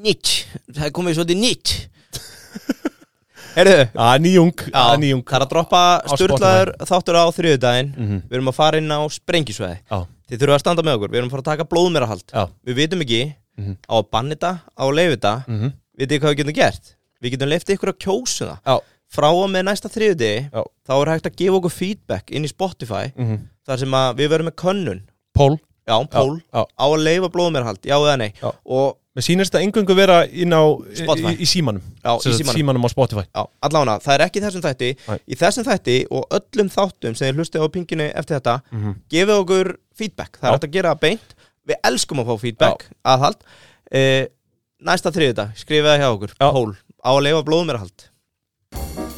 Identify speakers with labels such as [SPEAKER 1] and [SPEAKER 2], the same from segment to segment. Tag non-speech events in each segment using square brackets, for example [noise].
[SPEAKER 1] nýtt Það er komið svolítið nýtt [laughs] Herðu,
[SPEAKER 2] Það er nýjung,
[SPEAKER 1] Já,
[SPEAKER 2] það er nýjung
[SPEAKER 1] það er að droppa
[SPEAKER 2] Spotify.
[SPEAKER 1] styrlaður þáttur á þriðudaginn
[SPEAKER 2] Mhm.
[SPEAKER 1] Við erum að fara inn á sprengisvæði
[SPEAKER 2] Já,
[SPEAKER 1] Þið þurfum að standa með okkur, við erum að fara að taka blóðmerahald
[SPEAKER 2] já,
[SPEAKER 1] Við vitum ekki
[SPEAKER 2] Mhm.
[SPEAKER 1] á að banni þetta, á að leifi þetta
[SPEAKER 2] Mhm.
[SPEAKER 1] Vitið þið hvað við getum gert? Við getum leiftið ykkur að kjósa það
[SPEAKER 2] já,
[SPEAKER 1] Frá og með næsta þriðudegi
[SPEAKER 2] já
[SPEAKER 1] þá er hægt að gefa okkur feedback inn í Spotify
[SPEAKER 2] mhm.
[SPEAKER 1] Þar sem að við verum með könnun
[SPEAKER 2] Pól
[SPEAKER 1] Já, pól,
[SPEAKER 2] já.
[SPEAKER 1] á að leifa blóðmerahald, já eða nei
[SPEAKER 2] Já.
[SPEAKER 1] Og
[SPEAKER 2] Mér sýnist það engungu vera inn á í-
[SPEAKER 1] Spotify.
[SPEAKER 2] Í, í símanum
[SPEAKER 1] Já, í
[SPEAKER 2] Sem sagt,
[SPEAKER 1] símanum.
[SPEAKER 2] á Spotify
[SPEAKER 1] Já, allána, það er ekki í þessum þætti
[SPEAKER 2] Nei.
[SPEAKER 1] Í þessum þætti og öllum þáttum sem þið hlustið á pinginu eftir þetta
[SPEAKER 2] Mhm.
[SPEAKER 1] gefið okkur feedback, það
[SPEAKER 2] Já.
[SPEAKER 1] er hægt að gera það beint Við elskum að fá feedback, aðhald e, Næsta þriðuta, skrifið það hjá okkur
[SPEAKER 2] Já.
[SPEAKER 1] Pól, á að leifa blóðmerahald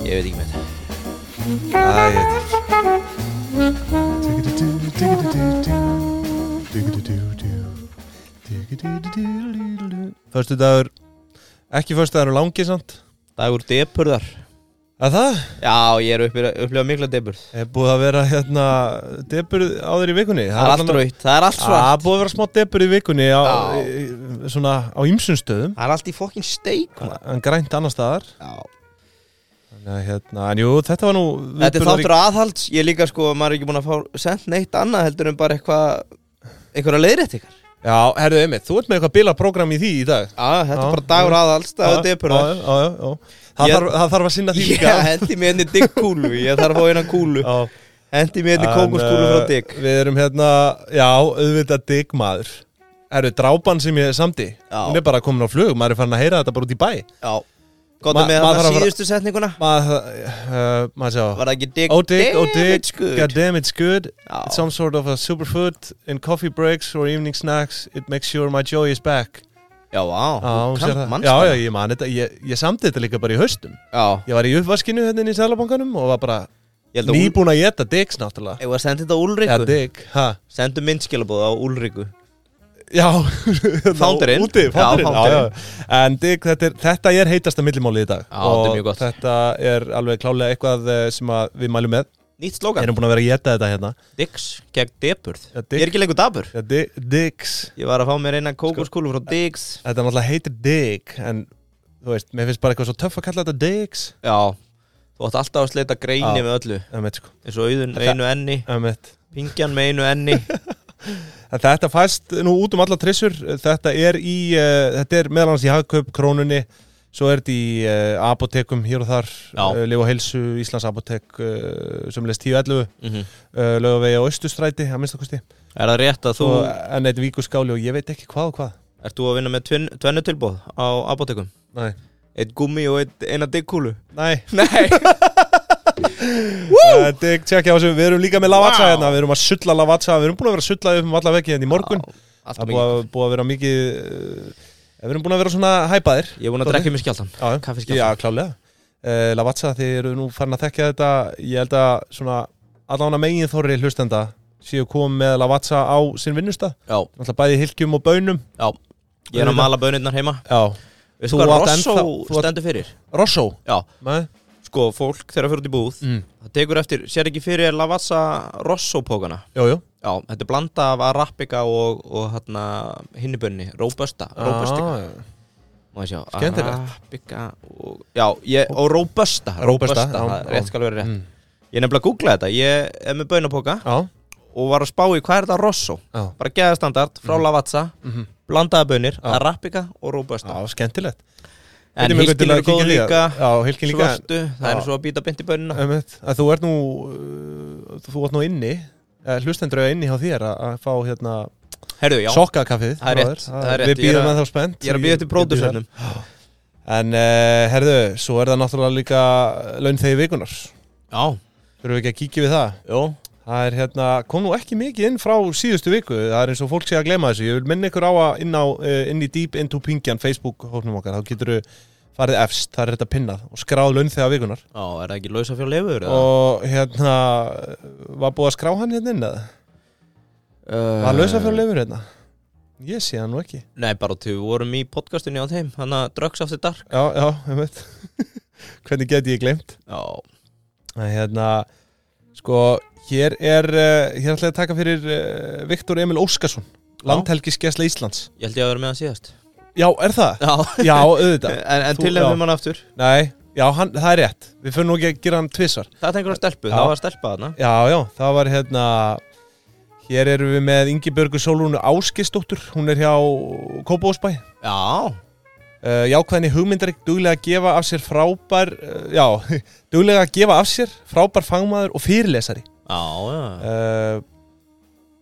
[SPEAKER 1] Æ, Ég veit ekki með þetta Æ, ég veit
[SPEAKER 2] Föstu dagur Ekki föstu dagur langi samt
[SPEAKER 1] Dagur depurðar
[SPEAKER 2] Að það
[SPEAKER 1] Já, ég er upplifað, upplifað mikla depurð
[SPEAKER 2] er búið að vera hérna Deburð á þér í vikunni
[SPEAKER 1] Það er allt
[SPEAKER 2] allan-
[SPEAKER 1] rautt, Ah. það er allt svart
[SPEAKER 2] Það er búið að vera smá deburð í vikunni á,
[SPEAKER 1] Já.
[SPEAKER 2] í- Svona á ýmsum stöðum
[SPEAKER 1] Það er allt í fokkin steik maður.
[SPEAKER 2] En grænt annar staðar
[SPEAKER 1] Já
[SPEAKER 2] Þannig að hérna, en jú, þetta var nú
[SPEAKER 1] Þetta er
[SPEAKER 2] viðburðarík-
[SPEAKER 1] þáttur aðhalds, ég líka sko, maður er ekki búin að fá sent neitt annað heldur en bara eitthvað, einhverja leiðrétt ykkar.
[SPEAKER 2] Já, herðu einmitt, þú ert með eitthvað bilað program í því í dag
[SPEAKER 1] Já, þetta
[SPEAKER 2] Já,
[SPEAKER 1] er bara dagur
[SPEAKER 2] já.
[SPEAKER 1] aðhalds, það er depurðar.
[SPEAKER 2] Já, já, já, já. Það,
[SPEAKER 1] Ég-
[SPEAKER 2] þarf, það þarf að sinna því
[SPEAKER 1] Ég
[SPEAKER 2] líka
[SPEAKER 1] hendi mér henni digg kúlu, ég þarf að fá hérna kúlu.
[SPEAKER 2] Já.
[SPEAKER 1] [laughs] Hendi mér henni
[SPEAKER 2] En,
[SPEAKER 1] kókoskúlu
[SPEAKER 2] eh,
[SPEAKER 1] frá digg.
[SPEAKER 2] Við erum hérna, já, auðvitað digg maður Herru, drápan sem ég samdi
[SPEAKER 1] Já.
[SPEAKER 2] Hún er bara komin á flug, maður er farin að heyra þetta bara út í bæ
[SPEAKER 1] Já, gott
[SPEAKER 2] Ma-
[SPEAKER 1] að með
[SPEAKER 2] maður þarf
[SPEAKER 1] þarna
[SPEAKER 2] að fara-
[SPEAKER 1] síðustu setninguna.
[SPEAKER 2] Maður, uh, maður sjá Oh,
[SPEAKER 1] Var það ekki digg?
[SPEAKER 2] Ó digg, ó
[SPEAKER 1] Damn,
[SPEAKER 2] digg,
[SPEAKER 1] it's good.
[SPEAKER 2] god damn it's good
[SPEAKER 1] Já.
[SPEAKER 2] It's some sort of a superfood In coffee breaks or evening snacks It makes sure my joy is back
[SPEAKER 1] Já, vá,
[SPEAKER 2] Já,
[SPEAKER 1] þú
[SPEAKER 2] hún sér
[SPEAKER 1] kann-
[SPEAKER 2] það.
[SPEAKER 1] manst
[SPEAKER 2] já, já,
[SPEAKER 1] það.
[SPEAKER 2] ég man þetta Ég, ég samdi þetta líka bara í haustum
[SPEAKER 1] Já,
[SPEAKER 2] Ég var í uppvaskinu hérna inn í Sælabankanum og var bara
[SPEAKER 1] ég held að Úl-
[SPEAKER 2] nýbúin að geta diggs náttúrulega
[SPEAKER 1] Ef að sendi þetta á
[SPEAKER 2] Já,
[SPEAKER 1] Úlriku,
[SPEAKER 2] digg, ha
[SPEAKER 1] sendu myndskilabóð á Úlriku.
[SPEAKER 2] Já, [laughs]
[SPEAKER 1] Founderinn.
[SPEAKER 2] Úti,
[SPEAKER 1] Já,
[SPEAKER 2] founderinn já,
[SPEAKER 1] founderinn.
[SPEAKER 2] já. En digg, þetta er, þetta er heitasta millimálið í dag
[SPEAKER 1] Já, þetta er mjög
[SPEAKER 2] Og
[SPEAKER 1] gott.
[SPEAKER 2] þetta er alveg klálega eitthvað eh, sem að við mælum með
[SPEAKER 1] Nýtt slókan,
[SPEAKER 2] Erum búin að vera að geta þetta hérna
[SPEAKER 1] diggs gegn depurð.
[SPEAKER 2] Já,
[SPEAKER 1] Ég er
[SPEAKER 2] digg,
[SPEAKER 1] ekki lengur dabur.
[SPEAKER 2] já, digg, diggs
[SPEAKER 1] Ég var að fá mér eina kókoskúlu frá Diggs
[SPEAKER 2] Þetta náttúrulega heitir digg En, þú veist, mér finnst bara eitthvað svo töff að kalla þetta diggs
[SPEAKER 1] Já Þú átt alltaf að sleita greini
[SPEAKER 2] Já.
[SPEAKER 1] með öllu
[SPEAKER 2] Ömmit, sko,
[SPEAKER 1] eins og auðun með
[SPEAKER 2] Þetta-
[SPEAKER 1] einu enni
[SPEAKER 2] ömmit
[SPEAKER 1] Pingjan með einu [laughs] enni
[SPEAKER 2] En Þetta fæst nú út um alla trissur, þetta er í, uh, þetta er meðal hans í hagkaup, krónunni, svo er þetta í uh, apotekum hér og þar,
[SPEAKER 1] Já.
[SPEAKER 2] uh, Liv og Heilsu, Íslands apotek, uh, sem leist 10.11,
[SPEAKER 1] Mhm.
[SPEAKER 2] uh, lögavegi á Östustræti, að minnst okkusti,
[SPEAKER 1] Er það rétt að þú
[SPEAKER 2] svo enn eitt víkuskáli og ég veit ekki hvað og hvað.
[SPEAKER 1] Ert þú að vinna með tvin, tvennu tilbóð á apotekum?
[SPEAKER 2] Nei.
[SPEAKER 1] Eitt gummi og eitt, eina diggkúlu
[SPEAKER 2] Nei,
[SPEAKER 1] [laughs] Nei
[SPEAKER 2] þetta er tjekkja á þessu, við erum líka með lavatsa
[SPEAKER 1] Wow.
[SPEAKER 2] hérna, við erum að sulla lavatsa, við erum búin að vera að sulla upp um alla veggi hérna í morgun,
[SPEAKER 1] Alltaf
[SPEAKER 2] það er
[SPEAKER 1] mikið
[SPEAKER 2] búið, að- búið að vera mikið, uh, við erum búin að vera svona hæpaðir.
[SPEAKER 1] Ég er búin að drekka mér skjáltan
[SPEAKER 2] Já,
[SPEAKER 1] Kaffiskjálfta.
[SPEAKER 2] Já, klálega uh, Lavazza, þið eru nú farin að þekkja þetta Ég held að svona allan að megin þorri hlustenda séu komið með Lavazza á sinn vinnustad
[SPEAKER 1] Já,
[SPEAKER 2] Náttúrulega bæði hilkjum og bönum
[SPEAKER 1] já Ég er að mala bönirnar heima
[SPEAKER 2] Já
[SPEAKER 1] Veistu
[SPEAKER 2] Þú
[SPEAKER 1] hvað
[SPEAKER 2] átt
[SPEAKER 1] Rosso
[SPEAKER 2] ennþá- þú átt-
[SPEAKER 1] stendur fyrir?
[SPEAKER 2] Rosso
[SPEAKER 1] Já,
[SPEAKER 2] Nei
[SPEAKER 1] sko fólk þegar það fyrir út í búð
[SPEAKER 2] mm.
[SPEAKER 1] Það tekur eftir, sér ekki fyrir Lavazza Rosso pókana
[SPEAKER 2] Jú, jú
[SPEAKER 1] Já, þetta er blanda af Arabica og, og hérna hinnibönni, Robusta, Robustica
[SPEAKER 2] Ah,
[SPEAKER 1] Má ég sjá,
[SPEAKER 2] Skemmtilegt.
[SPEAKER 1] Arabica og, já, ég, og Robusta,
[SPEAKER 2] Robusta, já,
[SPEAKER 1] það er
[SPEAKER 2] já.
[SPEAKER 1] rétt skal vera rétt
[SPEAKER 2] mm.
[SPEAKER 1] Ég er nefnilega að googla þetta, ég er með baunapoka
[SPEAKER 2] Já,
[SPEAKER 1] og var að spá í hvað er þetta Rosso
[SPEAKER 2] já
[SPEAKER 1] bara geðastandard, frá Lavazza,
[SPEAKER 2] Mhm.
[SPEAKER 1] blandaða bönir,
[SPEAKER 2] Já.
[SPEAKER 1] Arabica og Robusta
[SPEAKER 2] Já, skemmtilegt
[SPEAKER 1] En
[SPEAKER 2] Hvetjum ykkur til
[SPEAKER 1] hilkin
[SPEAKER 2] að
[SPEAKER 1] eru góð
[SPEAKER 2] kíkja líka.
[SPEAKER 1] líka,
[SPEAKER 2] Já, hilkin líka
[SPEAKER 1] svörtu, það er
[SPEAKER 2] Já.
[SPEAKER 1] svo að býta bynd í bönina
[SPEAKER 2] Einmitt. Að Þú ert nú uh, Þú ert nú inni eh, Hlustendur eru inni hjá þér að- að fá hérna
[SPEAKER 1] Herðu, já,
[SPEAKER 2] sokkakaffið
[SPEAKER 1] Það er rétt,
[SPEAKER 2] bróðir.
[SPEAKER 1] það er rétt.
[SPEAKER 2] Við
[SPEAKER 1] Ég er
[SPEAKER 2] býðum
[SPEAKER 1] að-
[SPEAKER 2] að þá spennt
[SPEAKER 1] ég er að býða
[SPEAKER 2] Ég-
[SPEAKER 1] eftir
[SPEAKER 2] ég bíð
[SPEAKER 1] pródusernum
[SPEAKER 2] En uh, herðu, svo er það náttúrulega líka laun þegi vikunar.
[SPEAKER 1] Já,
[SPEAKER 2] Þurfum við ekki að kíkja við það?
[SPEAKER 1] jú,
[SPEAKER 2] Það er hérna, kom nú ekki mikið inn frá síðustu viku, það er eins og fólk sé að glema þessu. Ég vil minna ykkur á að inn, á, uh, inn í Deep Into Pingjan Facebook-hóknum okkar, þá getur við farið efst, það er þetta pinnað og skráð laun þegi vikunar.
[SPEAKER 1] já, er það ekki lausa fyrir lefur? eða?
[SPEAKER 2] Og hérna, var búið að skrá hann hérna inn eða?
[SPEAKER 1] Uh,
[SPEAKER 2] Var lausa fyrir lefur hérna? Ég sé hann nú ekki.
[SPEAKER 1] Nei, bara til við vorum í podcastinni á þeim Þannig að Drugs After Dark
[SPEAKER 2] Já, [laughs] já, ég veit. Hvernig get ég glemt?
[SPEAKER 1] Já,
[SPEAKER 2] Að, hérna, Sko, hér er uh, hér ætlaði að taka fyrir uh, Viktor Emil Óskarsson Landhelgisgesla Íslands
[SPEAKER 1] Ég held ég að vera með hann síðast
[SPEAKER 2] Já, er það?
[SPEAKER 1] Já,
[SPEAKER 2] [laughs] Já, [laughs] auðvitað
[SPEAKER 1] en, en
[SPEAKER 2] Þú-
[SPEAKER 1] tilhefnum hann aftur
[SPEAKER 2] Nei, já, hann, það er rétt Við fyrir nú ekki að gera hann tvissar
[SPEAKER 1] Það tengur á stelpu,
[SPEAKER 2] Já.
[SPEAKER 1] það var stelpa þarna
[SPEAKER 2] Já, já, það var hérna Hér erum við með Ingi Börgu Sólrúnu Áskistóttur Hún er hjá Kópavósbæ uh,
[SPEAKER 1] Já,
[SPEAKER 2] Jákvæðinni hugmyndarík duglega að gefa af sér frábær uh, Já, [laughs] duglega að gefa af sér frábær fangmaður og fyrirlesari
[SPEAKER 1] já, já
[SPEAKER 2] uh,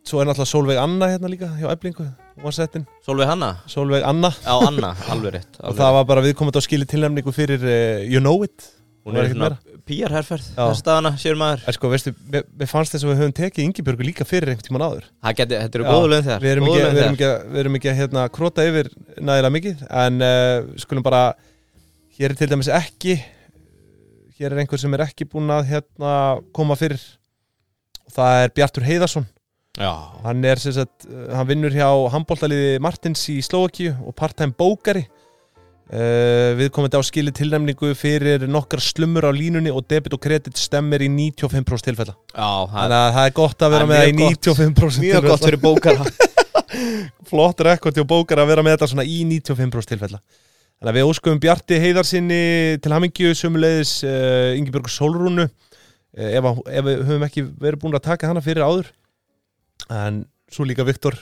[SPEAKER 2] Svo er náttúrulega Solveig Anna hérna líka hjá Eblingu Hún var settin,
[SPEAKER 1] Solveig Hanna
[SPEAKER 2] Solveig Anna
[SPEAKER 1] Já,
[SPEAKER 2] [laughs]
[SPEAKER 1] Anna, alveg rétt
[SPEAKER 2] Og það var bara viðkomandi á skili tilnæmningu fyrir uh, You Know It
[SPEAKER 1] Hún
[SPEAKER 2] var
[SPEAKER 1] er
[SPEAKER 2] ekkert
[SPEAKER 1] svona pýjarherferð
[SPEAKER 2] Já.
[SPEAKER 1] Þess dagana, sér maður
[SPEAKER 2] En sko, veistu, mér, mér fannst þess að við höfum tekið Ingi Börgu líka fyrir einhvern tíman áður
[SPEAKER 1] Það geti, þetta eru
[SPEAKER 2] Já,
[SPEAKER 1] góðu lögn þegar
[SPEAKER 2] Við erum
[SPEAKER 1] góðu
[SPEAKER 2] ekki,
[SPEAKER 1] laun
[SPEAKER 2] við
[SPEAKER 1] þegar.
[SPEAKER 2] erum ekki, að- við erum ekki að hérna, krota yfir nægilega mikið en uh, skulum bara hér er til dæmis ekki hér er einhver sem er ekki búinn að hérna, koma fyrir og það er Bjartur Heiðarsson
[SPEAKER 1] Já,
[SPEAKER 2] hann er sem sagt, eh, hann vinnur hjá handbóltaliði Martins í Slovakíu og part-time bókari uh, við komum þetta á skili tilnæmningu fyrir nokkar slumur á línunni og debit og kredit stemmer í 95% tilfella
[SPEAKER 1] já, það
[SPEAKER 2] þannig að það er gott að
[SPEAKER 1] Það
[SPEAKER 2] vera
[SPEAKER 1] er
[SPEAKER 2] með það í
[SPEAKER 1] mjög
[SPEAKER 2] 95%
[SPEAKER 1] er mjög gott fyrir bókara
[SPEAKER 2] [laughs] flott rekord hjá bókar að vera með þetta svona í 95% tilfella Þannig að við óskum Bjarti Heiðarsinni til hamingju sömuleiðis uh, Ingeborg Solrúnu uh, ef, að- ef við höfum ekki verið búin að taka hana fyrir áður en svo líka Viktor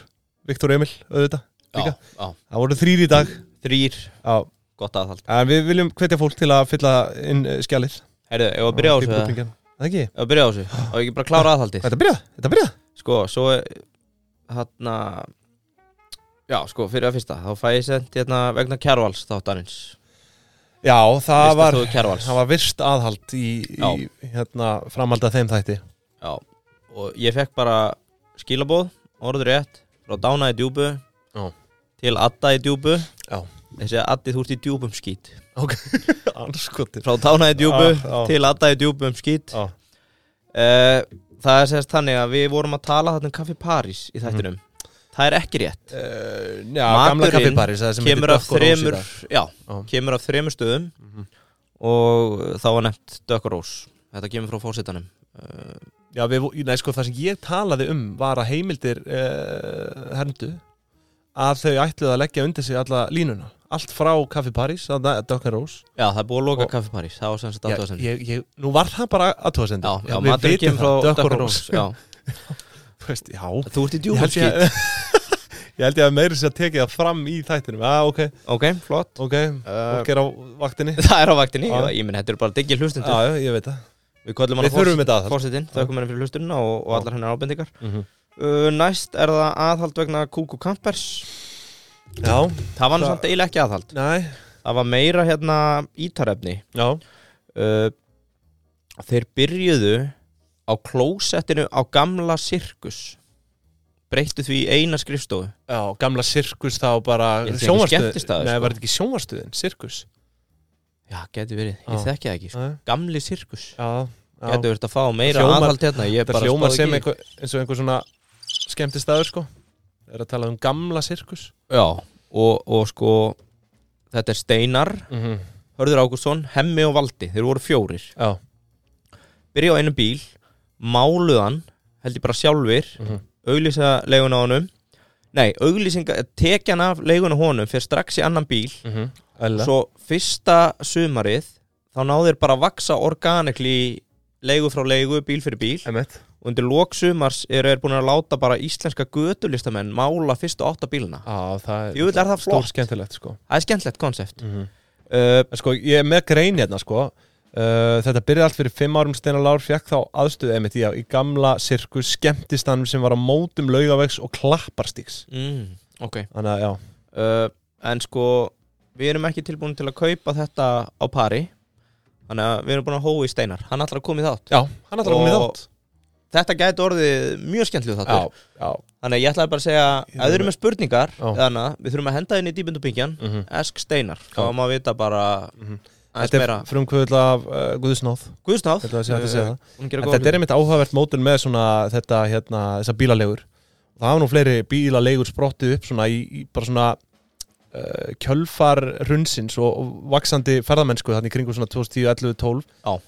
[SPEAKER 2] Viktor Emil auðvitað
[SPEAKER 1] Já,
[SPEAKER 2] Líka.
[SPEAKER 1] já,
[SPEAKER 2] það voru þrýr í dag
[SPEAKER 1] þrýr,
[SPEAKER 2] Já,
[SPEAKER 1] gott aðhald
[SPEAKER 2] en við viljum hvetja fólk til að fylla inn eh, skjalið
[SPEAKER 1] Herðu, ef að byrja á þessu eða?
[SPEAKER 2] Bíblíkingin. Það ekki?
[SPEAKER 1] Ef að byrja á þessu, á ekki bara að klára aðhaldið
[SPEAKER 2] Hvað er að byrja? Þetta byrja?
[SPEAKER 1] Sko, svo hann Já, sko, fyrir að fyrsta Þá fæ ég sent hérna vegna Kjærvals þáttanins
[SPEAKER 2] Já, það
[SPEAKER 1] Fyrsta
[SPEAKER 2] var,
[SPEAKER 1] þóðu Kjærvals
[SPEAKER 2] það var virst aðhald í, í hérna, framhald að þeim þætti
[SPEAKER 1] Já, og ég fekk bara skilabóð, orður rétt frá Dána í djúbu
[SPEAKER 2] Já.
[SPEAKER 1] til Adda í djúbu
[SPEAKER 2] Já.
[SPEAKER 1] Þessi Addi þú ert í djúbum skít
[SPEAKER 2] [laughs] Ok, anskotir
[SPEAKER 1] Frá Dána í djúbu
[SPEAKER 2] Já, já.
[SPEAKER 1] til Adda í djúbum skít
[SPEAKER 2] Já.
[SPEAKER 1] uh, Það er sérst þannig að við vorum að tala þarna um Kaffi París í
[SPEAKER 2] Mhm.
[SPEAKER 1] þættinum Það er ekki rétt
[SPEAKER 2] Uh, já,
[SPEAKER 1] Maturinn
[SPEAKER 2] gamla kaffibaris
[SPEAKER 1] kemur af þremur já,
[SPEAKER 2] Já. Mhm.
[SPEAKER 1] kemur af þremur stöðum og þá var nefnt Dökkarós þetta kemur frá fórsetanum uh,
[SPEAKER 2] Já, við, vo- nei, sko, það sem ég talaði um var að heimildir uh, herndu að þau ætluðu að leggja undir sig alla línuna allt frá kaffibaris, Dökkan Rós
[SPEAKER 1] já, það er búið að loka
[SPEAKER 2] Og-
[SPEAKER 1] Kaffi París það var sem sagt
[SPEAKER 2] Já,
[SPEAKER 1] aðtöðasend já,
[SPEAKER 2] ég, ég, Nú var það bara aðtóðasendi
[SPEAKER 1] já, já maturinn kemur frá Dökkarós já.
[SPEAKER 2] Veist, já,
[SPEAKER 1] þú ert í
[SPEAKER 2] ég
[SPEAKER 1] djúbum
[SPEAKER 2] held ég,
[SPEAKER 1] skýt
[SPEAKER 2] að- [laughs] ég held ég að meira sér að tekið það fram í þættinum Já, ok,
[SPEAKER 1] ok, flott
[SPEAKER 2] [laughs]
[SPEAKER 1] [laughs]
[SPEAKER 2] ok, fólk er á vaktinni
[SPEAKER 1] það er á vaktinni,
[SPEAKER 2] Já.
[SPEAKER 1] já. ég minn, þetta eru bara diggi
[SPEAKER 2] [laughs] Já,
[SPEAKER 1] hlustundur
[SPEAKER 2] já, ég veit það
[SPEAKER 1] við kollum
[SPEAKER 2] Við þurfum
[SPEAKER 1] hann
[SPEAKER 2] þetta aðhald
[SPEAKER 1] fórsetin, þau komum henni fyrir hlustunna og, og
[SPEAKER 2] Já.
[SPEAKER 1] allar hennar ábendingar
[SPEAKER 2] mm
[SPEAKER 1] uh, næst er það aðhald vegna Kúku Kampers
[SPEAKER 2] Já,
[SPEAKER 1] það var nú
[SPEAKER 2] Það-
[SPEAKER 1] samt eiginlega ekki aðhald
[SPEAKER 2] næ,
[SPEAKER 1] það var meira hérna ítarefni
[SPEAKER 2] já
[SPEAKER 1] uh, þeir byrjuðu á klósettinu á gamla sirkus breyttu því í eina skrifstofu
[SPEAKER 2] Já, gamla sirkus þá bara
[SPEAKER 1] Ég held ég
[SPEAKER 2] sjónvarpsstöð-
[SPEAKER 1] ekki skemmtistaður,
[SPEAKER 2] Nei,
[SPEAKER 1] sko.
[SPEAKER 2] var þetta ekki sjónvarstuðin, sirkus
[SPEAKER 1] já, getur verið, ég
[SPEAKER 2] Já.
[SPEAKER 1] þekki það ekki sko.
[SPEAKER 2] Já,
[SPEAKER 1] gamli sirkus,
[SPEAKER 2] já
[SPEAKER 1] getur verið að fá meira
[SPEAKER 2] Hljómar-
[SPEAKER 1] aðhald hérna ég
[SPEAKER 2] Þetta
[SPEAKER 1] bara
[SPEAKER 2] hljómar
[SPEAKER 1] spáði
[SPEAKER 2] sem
[SPEAKER 1] ekki í.
[SPEAKER 2] einhver, eins og einhver svona skemmtistaður sko Er að tala um gamla sirkus
[SPEAKER 1] já, og, og sko þetta er Steinar,
[SPEAKER 2] mm -hmm.
[SPEAKER 1] Hörður Ágússon Hemmi og Valdi, þeir voru fjórir
[SPEAKER 2] Já,
[SPEAKER 1] byrja á einu bíl, máluðan held ég bara sjálfur
[SPEAKER 2] Mhm.
[SPEAKER 1] auglýsa leiguna honum nei, auglýsinga, tekjan af leiguna honum fyrir strax í annan bíl
[SPEAKER 2] mm -hmm. Æla
[SPEAKER 1] Svo fyrsta sumarið þá náður bara að vaksa organikli leigu frá leigu, bíl fyrir bíl
[SPEAKER 2] Emmett
[SPEAKER 1] og undir lok sumars eru er búin að láta bara íslenska götulistamenn mála fyrstu átta bíluna.
[SPEAKER 2] Já, það er,
[SPEAKER 1] Jú, það er það
[SPEAKER 2] stór
[SPEAKER 1] flott.
[SPEAKER 2] skemmtilegt sko
[SPEAKER 1] Það er skemmtlegt konsept.
[SPEAKER 2] mm
[SPEAKER 1] Uh,
[SPEAKER 2] En Sko, ég er með grein hérna sko Uh, þetta byrjaði allt fyrir fimm árum Steinar Lár fekk þá aðstöðu emitt í, í gamla sirkus skemmtistanum sem var á mótum laugavegs og klapparstíks
[SPEAKER 1] mm, ok.
[SPEAKER 2] Þannig að já,
[SPEAKER 1] Uh, en sko, við erum ekki tilbúin til að kaupa þetta á pari þannig að við erum búin að hóa í steinar. Hann ætlar að koma í þátt.
[SPEAKER 2] já, hann ætlar að koma í
[SPEAKER 1] Og-
[SPEAKER 2] þátt
[SPEAKER 1] Þetta gæti orðið mjög skemmtlið þáttur.
[SPEAKER 2] Já, já
[SPEAKER 1] Þannig að ég ætlaði bara að segja,
[SPEAKER 2] Ég
[SPEAKER 1] ef þið eru með spurningar,
[SPEAKER 2] Já.
[SPEAKER 1] þannig að við þurfum að henda inn í dýbindubingjan
[SPEAKER 2] mm -hmm.
[SPEAKER 1] Esk Steinar þá
[SPEAKER 2] Já.
[SPEAKER 1] má maður vita bara
[SPEAKER 2] Mhm.
[SPEAKER 1] aðeins
[SPEAKER 2] Þetta er
[SPEAKER 1] meira
[SPEAKER 2] frumkvöðla af uh, Guðsnáð
[SPEAKER 1] Guðsnáð
[SPEAKER 2] Þetta sé hægt að segja það
[SPEAKER 1] hún
[SPEAKER 2] En
[SPEAKER 1] gerir
[SPEAKER 2] þetta
[SPEAKER 1] góða
[SPEAKER 2] er
[SPEAKER 1] hluti.
[SPEAKER 2] einmitt áhugavert mótun með svona þetta, hérna, þessar bílalegur Það hafa nú fleiri bílalegur sprottið upp svona í, í bara svona uh, kjölfar runnsins og, og vaksandi ferðamennsku þannig kringu svona 2010, 11, 12
[SPEAKER 1] Já.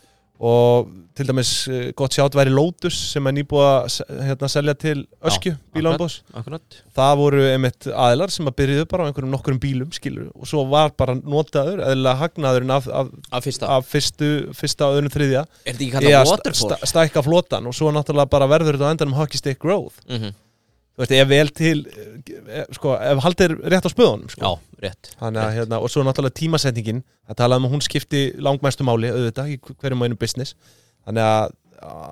[SPEAKER 2] og til dæmis eh, gott sjátt væri Lotus sem er nýbúið að se- hérna, selja til Öskju bílánbóðs
[SPEAKER 1] akkurat
[SPEAKER 2] það voru einmitt aðilar sem að byrjuðu bara á einhverjum nokkurum bílum skilur og svo var bara notaður eðla hagnaðurinn af, af,
[SPEAKER 1] Af fyrsta,
[SPEAKER 2] af fyrstu, fyrsta og öðnum þriðja
[SPEAKER 1] er þetta ekki
[SPEAKER 2] í
[SPEAKER 1] kallað
[SPEAKER 2] að sta-
[SPEAKER 1] waterfall?
[SPEAKER 2] sta- stækka flotan og svo náttúrulega bara verður þetta á endanum hockey stick growth
[SPEAKER 1] mm
[SPEAKER 2] þú veist, ef vel til eh, sko, ef haldir rétt á spöðunum sko.
[SPEAKER 1] Já, rétt
[SPEAKER 2] Þannig að, hérna, og svo náttúrulega tímasendingin að tala um að hún skipti langmæstu máli auðvitað í hverjum og einu business þannig að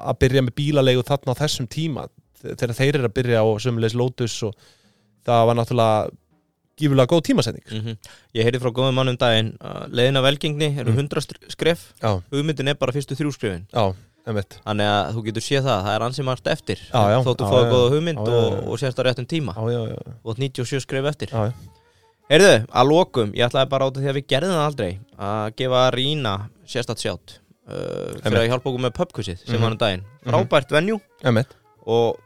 [SPEAKER 2] að byrja með bílalegu þarna á þessum tíma þegar þeir eru að byrja á sömulegis Lotus og það var náttúrulega gífulega góð tímasending
[SPEAKER 1] mm Ég heyrði frá góðum mannum daginn að leiðin að velgengni eru
[SPEAKER 2] Mm.
[SPEAKER 1] 100 st- skref
[SPEAKER 2] Já,
[SPEAKER 1] hugmyndin er bara fyrstu þrjú skrefin
[SPEAKER 2] já, emmitt
[SPEAKER 1] Þannig að þú getur séð það, það er ansi margt eftir
[SPEAKER 2] Já, já,
[SPEAKER 1] Þóttu
[SPEAKER 2] já,
[SPEAKER 1] fáið
[SPEAKER 2] já,
[SPEAKER 1] góða hugmynd
[SPEAKER 2] já, já, já.
[SPEAKER 1] og, og sérst á réttum tíma
[SPEAKER 2] Já, já, já,
[SPEAKER 1] og 97 skref eftir
[SPEAKER 2] já, já.
[SPEAKER 1] Heyrðu, að lokum, ég ætlaði bara út af því að við gerðum það aldrei að gefa Rína sérstætt sjátt uh, fyrir
[SPEAKER 2] Einmitt.
[SPEAKER 1] að hjálpa okkur með pubquizið sem
[SPEAKER 2] Mhm.
[SPEAKER 1] var um daginn
[SPEAKER 2] Mhm.
[SPEAKER 1] frábært venjú
[SPEAKER 2] emmitt
[SPEAKER 1] og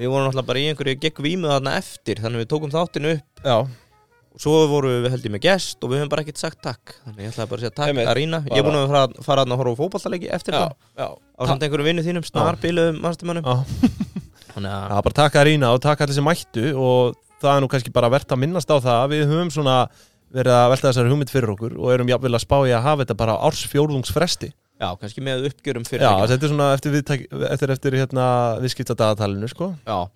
[SPEAKER 1] við vorum alltaf bara í einhverju gekk vímu þarna eftir þannig að við tókum þáttinu upp
[SPEAKER 2] Já,
[SPEAKER 1] og svo vorum við held ég með gest og við höfum bara ekkert sagt takk þannig ég ætlaði bara að segja takk
[SPEAKER 2] Einmitt.
[SPEAKER 1] að Rína ég
[SPEAKER 2] Bara-
[SPEAKER 1] er búin að fara, fara þarna að horfa á fótballtalegi eftir
[SPEAKER 2] já,
[SPEAKER 1] það
[SPEAKER 2] já
[SPEAKER 1] á samt einhverju vinnu þínum snarbiluðum mannstumannum
[SPEAKER 2] Já.
[SPEAKER 1] þannig að
[SPEAKER 2] Já, bara taka þær ína og taka allir sem mættu og það er nú kannski bara verðt að minnast á það að við höfum svona verið að velta þessari hugmynd fyrir okkur og erum jafnvel að spá í að hafa þetta bara á ársfjórðungsfresti
[SPEAKER 1] já, kannski með uppgjörum fyrir
[SPEAKER 2] Já, þetta er svona eftir, viðtæk, eftir, eftir hérna, viðskipta dagatalinu sko.
[SPEAKER 1] já. Og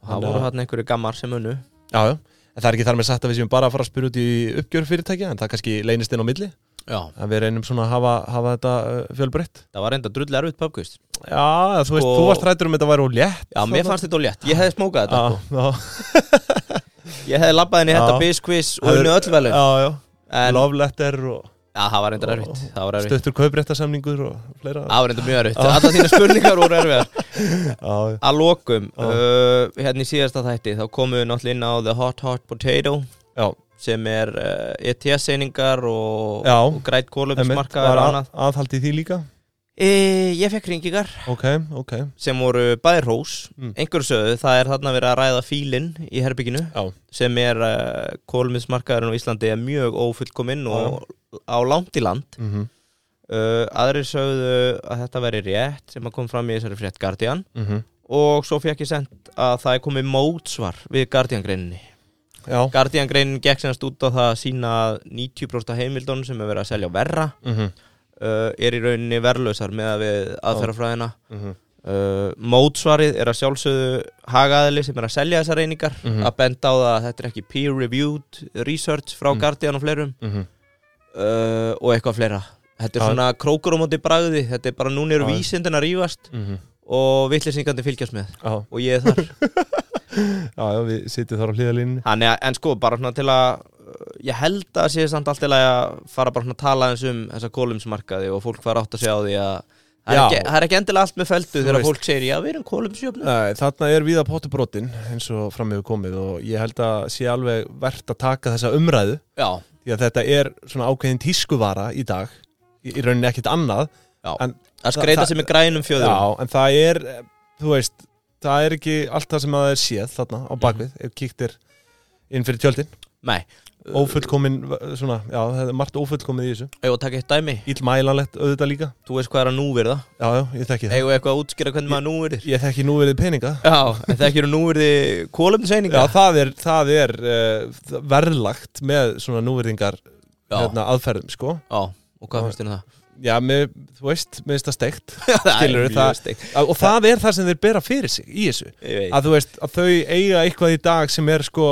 [SPEAKER 1] það
[SPEAKER 2] Þannig
[SPEAKER 1] voru
[SPEAKER 2] að-
[SPEAKER 1] þarna einhverju gammar sem unnu
[SPEAKER 2] Já, já, en það er ekki þar með sagt að við séum bara að fara að spyrja út í uppgjör fyrirtækja en það kannski leynist inn á milli
[SPEAKER 1] já,
[SPEAKER 2] að við reynum svona að hafa, hafa þetta uh, fjölbreytt
[SPEAKER 1] það var reynda drull erfitt pubquiz
[SPEAKER 2] Já, þú veist,
[SPEAKER 1] Sko-
[SPEAKER 2] þú varst rættur um þetta væri úr létt
[SPEAKER 1] Já, mér fannst þetta of létt, ég hefði smókað þetta
[SPEAKER 2] Já, já,
[SPEAKER 1] sko. Ég hefði labbað henni í
[SPEAKER 2] Já.
[SPEAKER 1] þetta bizquiz og
[SPEAKER 2] Það er-
[SPEAKER 1] unni öll velum
[SPEAKER 2] já, já.
[SPEAKER 1] En já,
[SPEAKER 2] love letter og
[SPEAKER 1] það var reyndar erfitt Það var erfitt,
[SPEAKER 2] stöttur kaupréttasamningur og fleira
[SPEAKER 1] það var reyndar mjög erfitt Alla
[SPEAKER 2] [laughs]
[SPEAKER 1] þína spurningar voru erfiðar
[SPEAKER 2] já, já.
[SPEAKER 1] Að lokum,
[SPEAKER 2] Já.
[SPEAKER 1] uh, hérna í síðasta þætti Þá komum við náttúrulega inn á The Hot Hot Potato
[SPEAKER 2] Já,
[SPEAKER 1] Sem er uh, ETS-seiningar og,
[SPEAKER 2] Já.
[SPEAKER 1] og græt
[SPEAKER 2] emitt,
[SPEAKER 1] kólöfismarkaðar
[SPEAKER 2] var
[SPEAKER 1] og
[SPEAKER 2] að,
[SPEAKER 1] annað
[SPEAKER 2] aðhald í því líka
[SPEAKER 1] e, Ég fekk ringingar
[SPEAKER 2] Ok, ok
[SPEAKER 1] sem voru bæði rós
[SPEAKER 2] Mm.
[SPEAKER 1] Einhverju sögðu, það er þarna verið að ræða fílinn í herbygginu
[SPEAKER 2] Já,
[SPEAKER 1] sem er uh, kólmiðsmarkaðurinn á Íslandi er mjög ófullkominn og á langt í land
[SPEAKER 2] mm -hmm.
[SPEAKER 1] uh, aðrir sögðu að þetta veri rétt sem að kom fram í þessari frétt Guardian
[SPEAKER 2] mhm.
[SPEAKER 1] og svo fekk ég sendt að það er komið mótsvar við Guardian greininni
[SPEAKER 2] já
[SPEAKER 1] Guardian greinin gekk semast út á það að sína að 90% af heimildunum sem er verið að selja verra
[SPEAKER 2] mm -hmm.
[SPEAKER 1] uh, er í rauninni verðlausar með að við aðferðafræðina
[SPEAKER 2] Mm -hmm.
[SPEAKER 1] uh, mótsvarið er að sjálfsögðu hagaðili sem er að selja þessar reiningar
[SPEAKER 2] Mhm.
[SPEAKER 1] að benda á það að þetta er ekki peer-reviewed research frá
[SPEAKER 2] Mm.
[SPEAKER 1] Guardian og fleirum
[SPEAKER 2] Mm -hmm.
[SPEAKER 1] uh, og eitthvað fleira þetta er
[SPEAKER 2] Já.
[SPEAKER 1] svona krókur á móti bragði þetta er bara núna eru
[SPEAKER 2] Já.
[SPEAKER 1] vísindin að rífast og vitlisingandi fylgjast með
[SPEAKER 2] mhm. Já,
[SPEAKER 1] og ég er þar
[SPEAKER 2] [laughs] já, já, við sitjum þar á hliðalínni
[SPEAKER 1] Þannig, að- en sko bara svona til að ég held að sé samt allt til að fara bara svona að tala eins um þessa kolumsmarkaði og fólk fara átt að segja á því að það er,
[SPEAKER 2] Já.
[SPEAKER 1] ekki, það er ekki endilega allt með feldu
[SPEAKER 2] Þú
[SPEAKER 1] þegar
[SPEAKER 2] veist.
[SPEAKER 1] fólk segir já við erum kolumsjöfnum
[SPEAKER 2] Nei, þarna er viða pottubrotin eins og fram hefur komið og ég held að sé alveg verðt að taka þessa umræðu
[SPEAKER 1] já,
[SPEAKER 2] því að þetta er svona ákveðin tískuvara í dag í, í rauninni ekkit annað
[SPEAKER 1] já.
[SPEAKER 2] En-
[SPEAKER 1] að skreita
[SPEAKER 2] það-
[SPEAKER 1] sig með grænum fjöðurum
[SPEAKER 2] Já, en það er, eh, þú veist það er ekki allt það sem að það er séð þarna á bakvið, ef kíkt er inn fyrir tjöldin
[SPEAKER 1] nei,
[SPEAKER 2] ófullkomin, svona, já, það er margt ófullkomið í þessu
[SPEAKER 1] eigum við að taka eitt dæmi
[SPEAKER 2] Íllmælanlegt auðvitað líka
[SPEAKER 1] þú veist hvað er að núverða
[SPEAKER 2] Já, já, ég þekki það
[SPEAKER 1] eigum við eitthvað að útskýra hvernig maður núverðir
[SPEAKER 2] Ég þekki núverið peninga
[SPEAKER 1] Já, en það ekki eru núverði
[SPEAKER 2] Já,
[SPEAKER 1] kólumseininga
[SPEAKER 2] það er, það er uh, verðlagt með svona núverðingar hérna, aðferðum, sko
[SPEAKER 1] Já, og hvað finnst þér um það?
[SPEAKER 2] Já, mér, þú veist, mér finnst það steikt
[SPEAKER 1] Skilurðu, [laughs]
[SPEAKER 2] mjög
[SPEAKER 1] það steikt.
[SPEAKER 2] Og það er það sem þeir bera fyrir sig í þessu
[SPEAKER 1] Ég veit.
[SPEAKER 2] Að þú veist, að þau eiga eitthvað í dag sem er sko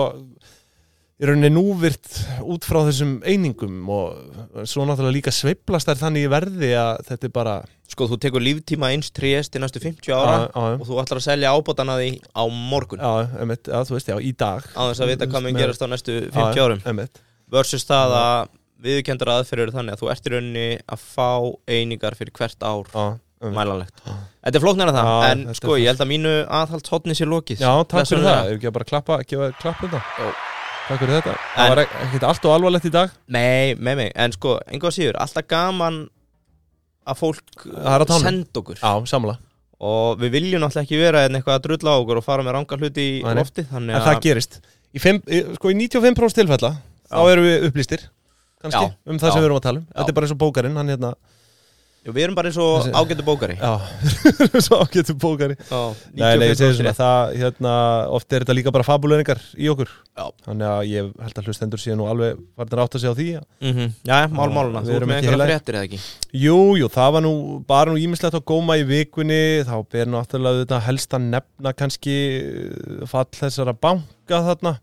[SPEAKER 2] í rauninni núvirt út frá þessum einingum og svo náttúrulega líka sveiflast þær þannig í verði að þetta er bara
[SPEAKER 1] Sko, þú tekur líftíma eins trés til næstu 50 ára
[SPEAKER 2] já, já.
[SPEAKER 1] og þú ætlar að selja ábótana því á morgun
[SPEAKER 2] Já, emitt, já, þú veist, já, í dag
[SPEAKER 1] á þess að vita hvað mun
[SPEAKER 2] Með-
[SPEAKER 1] gerast á næstu 50 árum
[SPEAKER 2] Emitt,
[SPEAKER 1] versus það að viðurkendur aðferður eru þannig að þú ert í rauninni að fá einingar fyrir hvert ár
[SPEAKER 2] já, emitt
[SPEAKER 1] mælanlegt. Þetta er flóknar að það,
[SPEAKER 2] Já,
[SPEAKER 1] en
[SPEAKER 2] þetta er
[SPEAKER 1] sko,
[SPEAKER 2] það.
[SPEAKER 1] ég held að mínu aðhalds hotni sér lokið.
[SPEAKER 2] Já, takk fyrir
[SPEAKER 1] Blessunarlega.
[SPEAKER 2] það, ef ekki að bara klappa, gefa þér klapp þetta
[SPEAKER 1] Jó.
[SPEAKER 2] Takk fyrir þetta, það
[SPEAKER 1] En-
[SPEAKER 2] var ek- ekkert allt og alvarlegt í dag
[SPEAKER 1] Nei, með mig, en sko, einhvað síður, alltaf gaman að fólk
[SPEAKER 2] Það er á tánum.
[SPEAKER 1] senda okkur
[SPEAKER 2] Já, samla
[SPEAKER 1] og við viljum náttúrulega ekki vera eða eitthvað að drulla á okkur og fara með ranga hluti í
[SPEAKER 2] Nei, nei.
[SPEAKER 1] lofti þannig
[SPEAKER 2] En það gerist í, fimm, í, sko, í 95% tilfella, þá erum við upplýstir kannski,
[SPEAKER 1] Já,
[SPEAKER 2] um það
[SPEAKER 1] já,
[SPEAKER 2] sem við erum að tala um
[SPEAKER 1] já.
[SPEAKER 2] Þetta er bara eins og bókarinn, hann hérna
[SPEAKER 1] Jú, við erum bara eins og
[SPEAKER 2] Þessi-
[SPEAKER 1] ágættu bókari
[SPEAKER 2] [laughs] Já, svo getur bókari
[SPEAKER 1] Já,
[SPEAKER 2] Nei, nei, ég segi svona,
[SPEAKER 1] 95%.
[SPEAKER 2] það, hérna, oft er þetta líka bara fabuleyningar í okkur
[SPEAKER 1] Já.
[SPEAKER 2] Þannig að ég held að hlustendur síðan nú alveg varnir átt að segja á því að-
[SPEAKER 1] Mhm. Jæja, mál máluna,
[SPEAKER 2] Við
[SPEAKER 1] þú
[SPEAKER 2] erum
[SPEAKER 1] erum með
[SPEAKER 2] ekki
[SPEAKER 1] einhverja
[SPEAKER 2] heilagar.
[SPEAKER 1] fréttir eða ekki
[SPEAKER 2] Jú, jú, það var nú bara nú ímislegt að góma í vikunni þá ber náttúrulega þetta helst að nefna kannski eh, fall þessara banka þarna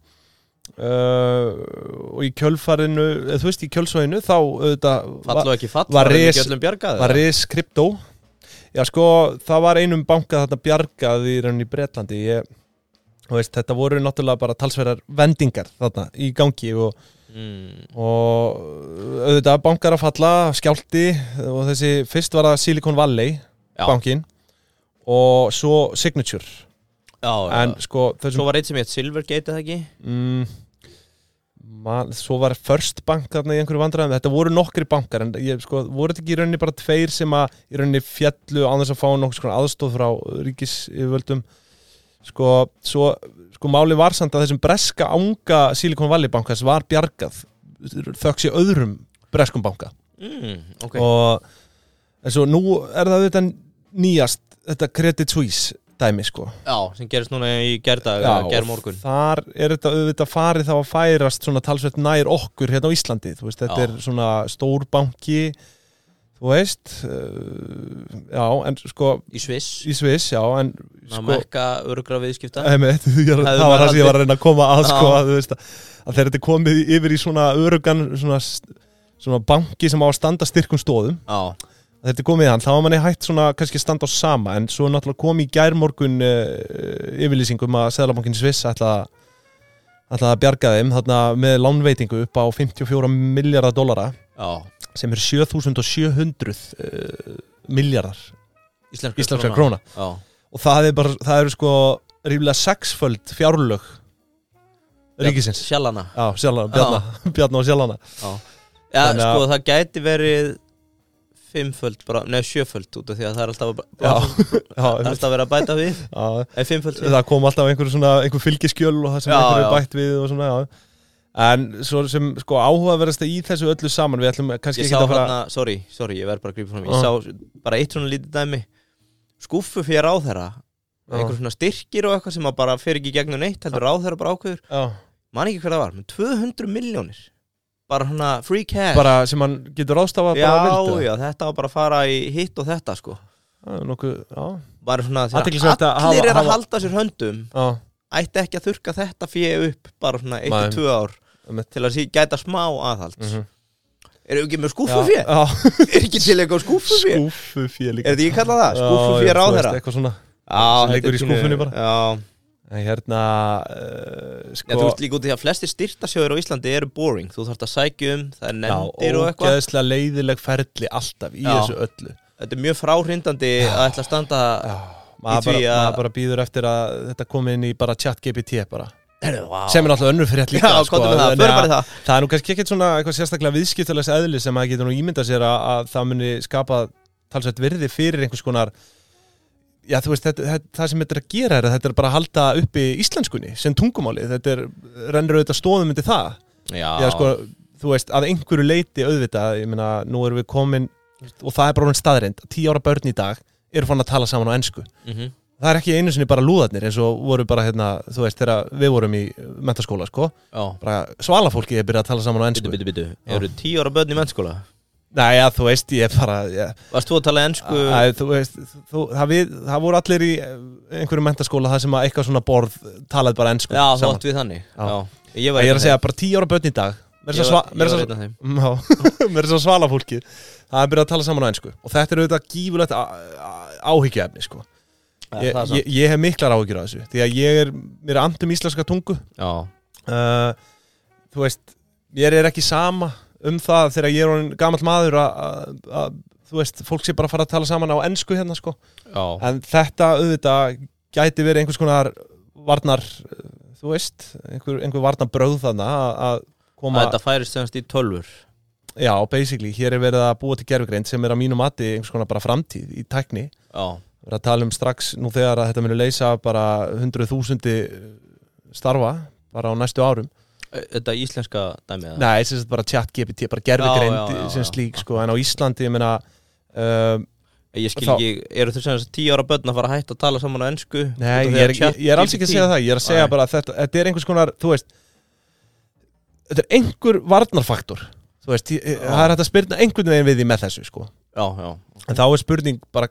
[SPEAKER 2] uh, og í kjölfarinu eða þú veist, í kjölsvæðinu þá auðvitað
[SPEAKER 1] Fall og ekki fall,
[SPEAKER 2] var
[SPEAKER 1] það er
[SPEAKER 2] ris-
[SPEAKER 1] ekki öllum bjargað
[SPEAKER 2] var
[SPEAKER 1] eða?
[SPEAKER 2] ris kryptó Já sko, það var einum banka þarna bjargað í rauninni í Bretlandi ég, þú veist, þetta voru náttúrulega bara talsverðar vendingar þarna í gangi og
[SPEAKER 1] Mm.
[SPEAKER 2] og auðvitað bankar að falla, skjálti og þessi, fyrst var það Silicon Valley
[SPEAKER 1] Já.
[SPEAKER 2] bankin og svo Signature
[SPEAKER 1] Já,
[SPEAKER 2] en
[SPEAKER 1] já.
[SPEAKER 2] sko
[SPEAKER 1] Svo
[SPEAKER 2] þessum
[SPEAKER 1] var eitt sem hétt Silvergate eða ekki
[SPEAKER 2] mm, man, svo var First Bank þarna í einhverju vandræðum þetta voru nokkri bankar en ég, sko, voru þetta ekki í rauninni bara tveir sem að í rauninni fjallu án þess að fá nokkuð skona aðstóð frá ríkis yfirvöldum sko, svo, sko máli var samt að þessum breska ánga Silicon Valley bankas var bjargað þöggs í öðrum breskum banka
[SPEAKER 1] mm, Ok,
[SPEAKER 2] og en svo nú er það þetta nýjast þetta Credit Suisse dæmi sko
[SPEAKER 1] já, sem gerist núna í gerdag
[SPEAKER 2] og
[SPEAKER 1] eða germorgun
[SPEAKER 2] þar er þetta auðvitað farið þá að færast svona talsveit nær okkur hérna á Íslandi þú veist, þetta
[SPEAKER 1] Já.
[SPEAKER 2] er svona stór banki þú veist uh, já, en sko
[SPEAKER 1] Í Sviss,
[SPEAKER 2] í Sviss, já, en
[SPEAKER 1] sko,
[SPEAKER 2] sko Eh,
[SPEAKER 1] mekka örugra viðskipta
[SPEAKER 2] [laughs] Einmitt, ég er,
[SPEAKER 1] Hefði
[SPEAKER 2] það var
[SPEAKER 1] maður
[SPEAKER 2] það sem ég var að reyna að koma að
[SPEAKER 1] Já.
[SPEAKER 2] sko, að, þú veist, að- að þegar þetta er komið yfir í svona örugan svona, svona banki sem á að standa styrkum stóðum
[SPEAKER 1] Já,
[SPEAKER 2] að þetta er komið í hann, þá var manni hægt svona kannski að standa á sama, en svo náttúrulega kom í gærmorgun uh, yfirlýsingum að Seðlabankin Sviss ætla að ætla að bjarga þeim þarna með lánveitingu upp á 54 miljardar dollara
[SPEAKER 1] já
[SPEAKER 2] sem er 7700 uh, miljardar
[SPEAKER 1] Íslenska,
[SPEAKER 2] íslenska króna
[SPEAKER 1] Já,
[SPEAKER 2] og það er bara, það eru sko ríflega sexföld fjárlög ríkisins
[SPEAKER 1] Sjallana
[SPEAKER 2] Já, sjálfana, bjarna, bjarna og sjálfana
[SPEAKER 1] Já,
[SPEAKER 2] Þannig að-
[SPEAKER 1] sko, það gæti verið fimmföld, bara, neða sjöföld út af því að það er alltaf að,
[SPEAKER 2] Já,
[SPEAKER 1] bara,
[SPEAKER 2] já,
[SPEAKER 1] það er alltaf að vera að bæta við
[SPEAKER 2] já
[SPEAKER 1] eða fimmföld við
[SPEAKER 2] það kom alltaf einhver, svona, einhver fylgiskjöl og það sem
[SPEAKER 1] Já,
[SPEAKER 2] einhver er
[SPEAKER 1] já.
[SPEAKER 2] bætt við og svona, já. En svo sem sko áhugaverðast í þessu öllu saman, við ætlum kannski
[SPEAKER 1] ég
[SPEAKER 2] ekki
[SPEAKER 1] sá
[SPEAKER 2] að fara...
[SPEAKER 1] hérna, sorry, sorry, ég verð bara að grípa fram í.
[SPEAKER 2] Já.
[SPEAKER 1] ég sá bara eitt svona lítið dæmi skúffu fyrir ráðherra einhver svona styrkir og eitthvað sem að bara fer ekki í gegnum neitt, heldur ráðherra bara ákveður
[SPEAKER 2] Já,
[SPEAKER 1] man ekki hvað það var, með 200 miljónir bara hana free cash
[SPEAKER 2] bara sem hann getur ráðstafað
[SPEAKER 1] já,
[SPEAKER 2] bara vildu.
[SPEAKER 1] já, þetta var bara að fara í hitt og þetta sko
[SPEAKER 2] Já, nokkuð, já,
[SPEAKER 1] bara svona, þegar
[SPEAKER 2] Athyglisvert að hafa-
[SPEAKER 1] allir er að
[SPEAKER 2] hafa-
[SPEAKER 1] halda sér höndum
[SPEAKER 2] já,
[SPEAKER 1] ætti ekki að þurka þetta fyrir upp bara svona
[SPEAKER 2] Nei.
[SPEAKER 1] 1-2 ár
[SPEAKER 2] einmitt.
[SPEAKER 1] til að sí- gæta smá aðhald
[SPEAKER 2] Mhm.
[SPEAKER 1] eru ekki með skúffu
[SPEAKER 2] Já, [laughs]
[SPEAKER 1] fyrir?
[SPEAKER 2] já,
[SPEAKER 1] er ekki til eitthvað skúffu fyrir?
[SPEAKER 2] skúfufé líka.
[SPEAKER 1] er þetta ekki kallað það?
[SPEAKER 2] Já,
[SPEAKER 1] skúffu
[SPEAKER 2] já,
[SPEAKER 1] fyrir
[SPEAKER 2] þú veist,
[SPEAKER 1] ráðherra?
[SPEAKER 2] Eitthvað svona.
[SPEAKER 1] Já, þetta
[SPEAKER 2] sem liggur
[SPEAKER 1] er
[SPEAKER 2] í
[SPEAKER 1] pínu-
[SPEAKER 2] skúffunni bara.
[SPEAKER 1] Já,
[SPEAKER 2] En hérna, uh,
[SPEAKER 1] Já, þú
[SPEAKER 2] sko...
[SPEAKER 1] veist líka út í því að flestir styrtasjóður á Íslandi eru boring Þú þarft að sækja um, það er nefndir og eitthvað
[SPEAKER 2] ógeðslega leiðileg ferli alltaf í
[SPEAKER 1] Já.
[SPEAKER 2] þessu öllu.
[SPEAKER 1] Þetta er mjög fráhrindandi að ætla að standa
[SPEAKER 2] Já, maður bara,
[SPEAKER 1] því að-
[SPEAKER 2] maður bara býður eftir að þetta komi inn í bara chat GPT bara.
[SPEAKER 1] Herru, vá.
[SPEAKER 2] sem er náttúrulega önnur frétt líka
[SPEAKER 1] Já, komdu með það,
[SPEAKER 2] þannig
[SPEAKER 1] förum bara í
[SPEAKER 2] að
[SPEAKER 1] það.
[SPEAKER 2] það er nú kannski ekkert svona eitthvað sérstaklega viðskiptulegs eðli sem að getur nú ímyndað sér að, að það muni skapa talsvægt virði fyrir einhvers konar já þú veist, þetta, þetta, það sem þetta er að gera er að þetta er bara að halda uppi íslenskunni sem tungumáli, þetta er, rennur auðvitað stóðum undir það,
[SPEAKER 1] Já,
[SPEAKER 2] já sko þú veist, að einhverju leiti auðvitað ég meina, nú erum við komin og það er bara hún staðreind, tíu ára börn í dag eru fann að tala saman á ensku
[SPEAKER 1] mhm.
[SPEAKER 2] það er ekki einu sinni bara lúðarnir eins og voru bara hérna, þú veist, þegar við vorum í mentaskóla, sko,
[SPEAKER 1] Já,
[SPEAKER 2] bara svalafólki er byrjað að tala saman á
[SPEAKER 1] bitu,
[SPEAKER 2] ennsku
[SPEAKER 1] bitu, bitu Eru tíu ára börn í mennskóla?
[SPEAKER 2] Nei, ja, þú veist, ég bara ég,
[SPEAKER 1] Varst þú að tala ennsku?
[SPEAKER 2] að, þú veist, þú, það, við, það voru allir í eh, einhverju mentaskóla það sem að eitthvað svona borð talaði bara ennsku
[SPEAKER 1] Já, þú
[SPEAKER 2] saman.
[SPEAKER 1] átt við þannig
[SPEAKER 2] Já.
[SPEAKER 1] Já, ég var
[SPEAKER 2] Ég er
[SPEAKER 1] einn af
[SPEAKER 2] að segja bara tíu ára börn í dag
[SPEAKER 1] þeim.
[SPEAKER 2] Mér er
[SPEAKER 1] Ég
[SPEAKER 2] svo
[SPEAKER 1] var- ég var einn af þeim.
[SPEAKER 2] [laughs] að svala fólki það er byrjað að tala saman á ennsku og þetta er auðvitað gífulegt áhyggjaefni sko.
[SPEAKER 1] Já,
[SPEAKER 2] ég,
[SPEAKER 1] það er
[SPEAKER 2] ég, ég hef miklar áhyggjur á þessu því að ég er, mér er andum íslenska tungu
[SPEAKER 1] samt.
[SPEAKER 2] uh, þú veist, ég er ekki sama um það þegar ég er orðinn gamall maður að- að, að, þú veist, fólk sé bara að fara að tala saman á ensku hérna, sko.
[SPEAKER 1] Já, já
[SPEAKER 2] En þetta, auðvitað, gæti verið einhvers konar varnar, uh, þú veist, einhver, einhver varnar bröð þarna að, að koma,
[SPEAKER 1] Að Þetta færist semst í tölvur
[SPEAKER 2] já, basically, hér er verið að búa til gerfugreind sem er að mínu mati einhvers konar bara framtíð í tækni.
[SPEAKER 1] Já,
[SPEAKER 2] Við erum að tala um strax nú þegar að þetta muni leysa bara hundruð þúsundi starfa bara á næstu árum.
[SPEAKER 1] þetta íslenska dæmið
[SPEAKER 2] Nei, sem sagt bara chat GPT, bara
[SPEAKER 1] Já, já, já,
[SPEAKER 2] gerfugreind sem
[SPEAKER 1] já.
[SPEAKER 2] slík sko, en á Íslandi, ég meina um,
[SPEAKER 1] Ég skil
[SPEAKER 2] Þá-
[SPEAKER 1] ekki, eru þau sem þess að tíu ára börn að fara að hætta að tala saman á ennsku
[SPEAKER 2] Nei, ég er, ég, ég er alls ekki að segja það Ég er að segja
[SPEAKER 1] Nei.
[SPEAKER 2] bara að þetta, þetta er einhvers konar Þú veist Þetta er einhver varnarfaktor Þú veist, ég, ég- það er hægt að spyrna einhvern veginn við því með þessu sko.
[SPEAKER 1] Já, já,
[SPEAKER 2] En þá er spurning bara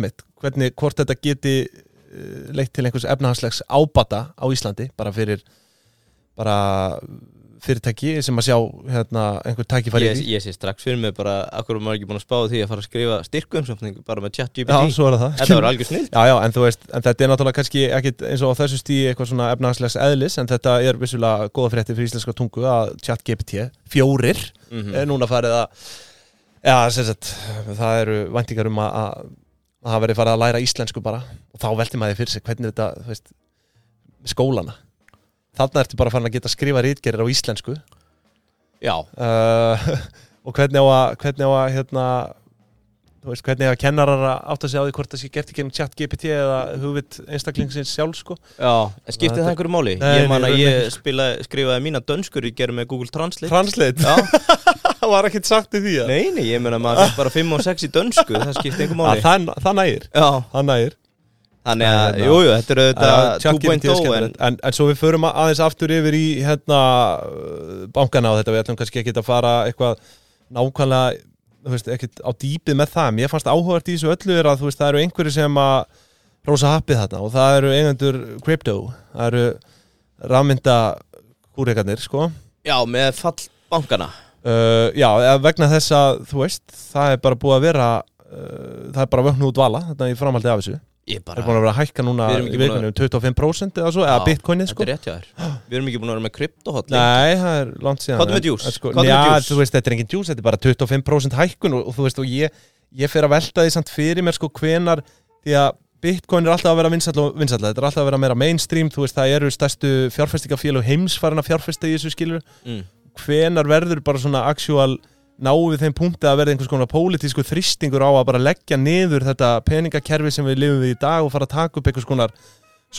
[SPEAKER 2] emitt, hvernig, hvort þetta geti uh, leitt til einhvers efnahanslegs ábata á Íslandi, bara fyrir bara fyrirtæki sem að sjá hérna, einhver tækifæri
[SPEAKER 1] ég,
[SPEAKER 2] í því.
[SPEAKER 1] ég sé strax fyrir mig bara Akkur er maður ekki búin að spá því að fara að skrifa styrkumsöfning bara með chat
[SPEAKER 2] Já,
[SPEAKER 1] GPT
[SPEAKER 2] svo er það
[SPEAKER 1] Þetta var algjör snill
[SPEAKER 2] Já, já, en þú veist, en þetta er náttúrulega kannski ekkit eins og á þessu stíi eitthvað svona efnahagslegs eðlis en þetta er vissulega góða frétti fyrir íslenska tungu að chat GPT fjórir
[SPEAKER 1] Mm. Mhm.
[SPEAKER 2] er núna farið að já, sem sagt, það eru væntingar um að, að að það verið farið að læra íslensku bara og þá velti maður því fyrir sig hvernig þetta, þú veist skólana þarna ertu bara farin að geta skrifa rítgerir á íslensku
[SPEAKER 1] Já,
[SPEAKER 2] uh, [laughs] og hvernig á að hvernig á að hérna þú veist, hvernig að kennarar að átta sig á því hvort það sé gert ekki um chat GPT eða hugvit einstaklingsins sjálf sko
[SPEAKER 1] já, en skipti það
[SPEAKER 2] Þetta-
[SPEAKER 1] einhverju máli?
[SPEAKER 2] Nei,
[SPEAKER 1] ég man
[SPEAKER 2] nei,
[SPEAKER 1] að
[SPEAKER 2] í rauninni
[SPEAKER 1] ég spila, skrifaði mína dönskur í gerum með Google Translate
[SPEAKER 2] Translate, [laughs]
[SPEAKER 1] Já,
[SPEAKER 2] það var ekkert sagt í því að
[SPEAKER 1] nei, nei, ég meina maður fikk bara 5 og 6 í dönsku, það skipti einhverju
[SPEAKER 2] Að
[SPEAKER 1] máli
[SPEAKER 2] Ah, það, það nægir
[SPEAKER 1] Já,
[SPEAKER 2] það nægir
[SPEAKER 1] þannig að,
[SPEAKER 2] Nei, nei.
[SPEAKER 1] jújú, jú, þetta er
[SPEAKER 2] Já,
[SPEAKER 1] auðvitað
[SPEAKER 2] Chuck GPT er
[SPEAKER 1] 2.0 en
[SPEAKER 2] skemmtilegt. en, en svo við förum að- aðeins aftur yfir í hérna, uh, bankana og þetta við ætlum kannski ekki að fara eitthvað nákvæmlega þú veist, ekkit á dýpið með það mér fannst áhugart í þessu öllu er að þú veist, það eru einhverju sem að rosa happið þarna og það eru eigendur crypto það eru rafmynda kúreikarnir sko
[SPEAKER 1] Já, með fall bankana
[SPEAKER 2] Uh, já, eða vegna þess að þú veist, það er bara búið að vera uh, það er bara vöknu út vala þetta í framhaldi af þessu,
[SPEAKER 1] Ég
[SPEAKER 2] það
[SPEAKER 1] bara,
[SPEAKER 2] er búin að vera að hækka núna
[SPEAKER 1] Við
[SPEAKER 2] í
[SPEAKER 1] erum
[SPEAKER 2] um
[SPEAKER 1] ekki búin
[SPEAKER 2] vikunum 25% eða svo, eða
[SPEAKER 1] Já,
[SPEAKER 2] bitcoinið sko
[SPEAKER 1] þetta er rétt hjá þér Við erum ekki búin að vera með kryptohot
[SPEAKER 2] Nei, það er langt síðan
[SPEAKER 1] Hvað er með
[SPEAKER 2] en-
[SPEAKER 1] juice?
[SPEAKER 2] en Sko,
[SPEAKER 1] Hvað er með
[SPEAKER 2] já,
[SPEAKER 1] juice?
[SPEAKER 2] þú veist, þetta er engin juice, þetta er bara 25% hækkun og, og þú veist, og ég, ég fer að velta því samt fyrir mér sko hvenar því að Bitcoin er alltaf að vera vinsall og vinsall þetta er alltaf að vera meira mainstream, þú veist, það eru stærstu fjárfestingafélug heims farin að fjárfesta í þessu skilur
[SPEAKER 1] mm.
[SPEAKER 2] hvenar verður bara svona actual náu við þeim punkti að verða einhvers konar pólitísku þrýstingur á að bara leggja niður þetta peningakerfi sem við lifum við í dag og fara að taka upp einhvers konar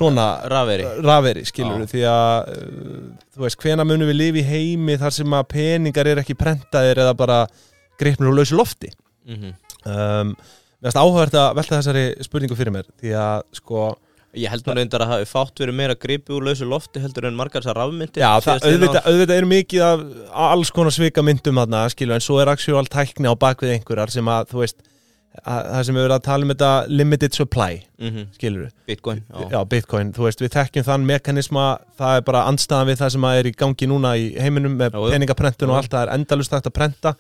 [SPEAKER 2] svona
[SPEAKER 1] Raferi
[SPEAKER 2] raferi, skilur því að uh, þú veist, hvena munum við lifa í heimi þar sem að peningar er ekki prentaðir eða bara greipnir úr lausu lofti
[SPEAKER 1] mm
[SPEAKER 2] um, mér finnst áhugavert að velta þessari spurningu fyrir mér því að sko,
[SPEAKER 1] Ég held nú reyndar að hafi fátt verið meira gripi úr lausu lofti heldur en margar þessar rafmyndir
[SPEAKER 2] já,
[SPEAKER 1] síðastliðin
[SPEAKER 2] það, auðvitað, auðvitað er mikið af alls konar svika myndum þarna, skilur, en svo er actual tækni á bakvið einhverjar sem að, þú veist að, það sem við verðum að tala um þetta limited supply,
[SPEAKER 1] ár. Mhm,
[SPEAKER 2] skilur
[SPEAKER 1] Bitcoin já.
[SPEAKER 2] já, Bitcoin, þú veist, við þekkjum þann mekanisma, það er bara andstæðan við það sem að er í gangi núna í heiminum með
[SPEAKER 1] Já, já.
[SPEAKER 2] peningaprentun og
[SPEAKER 1] Já.
[SPEAKER 2] allt, það er endalust hægt að prenta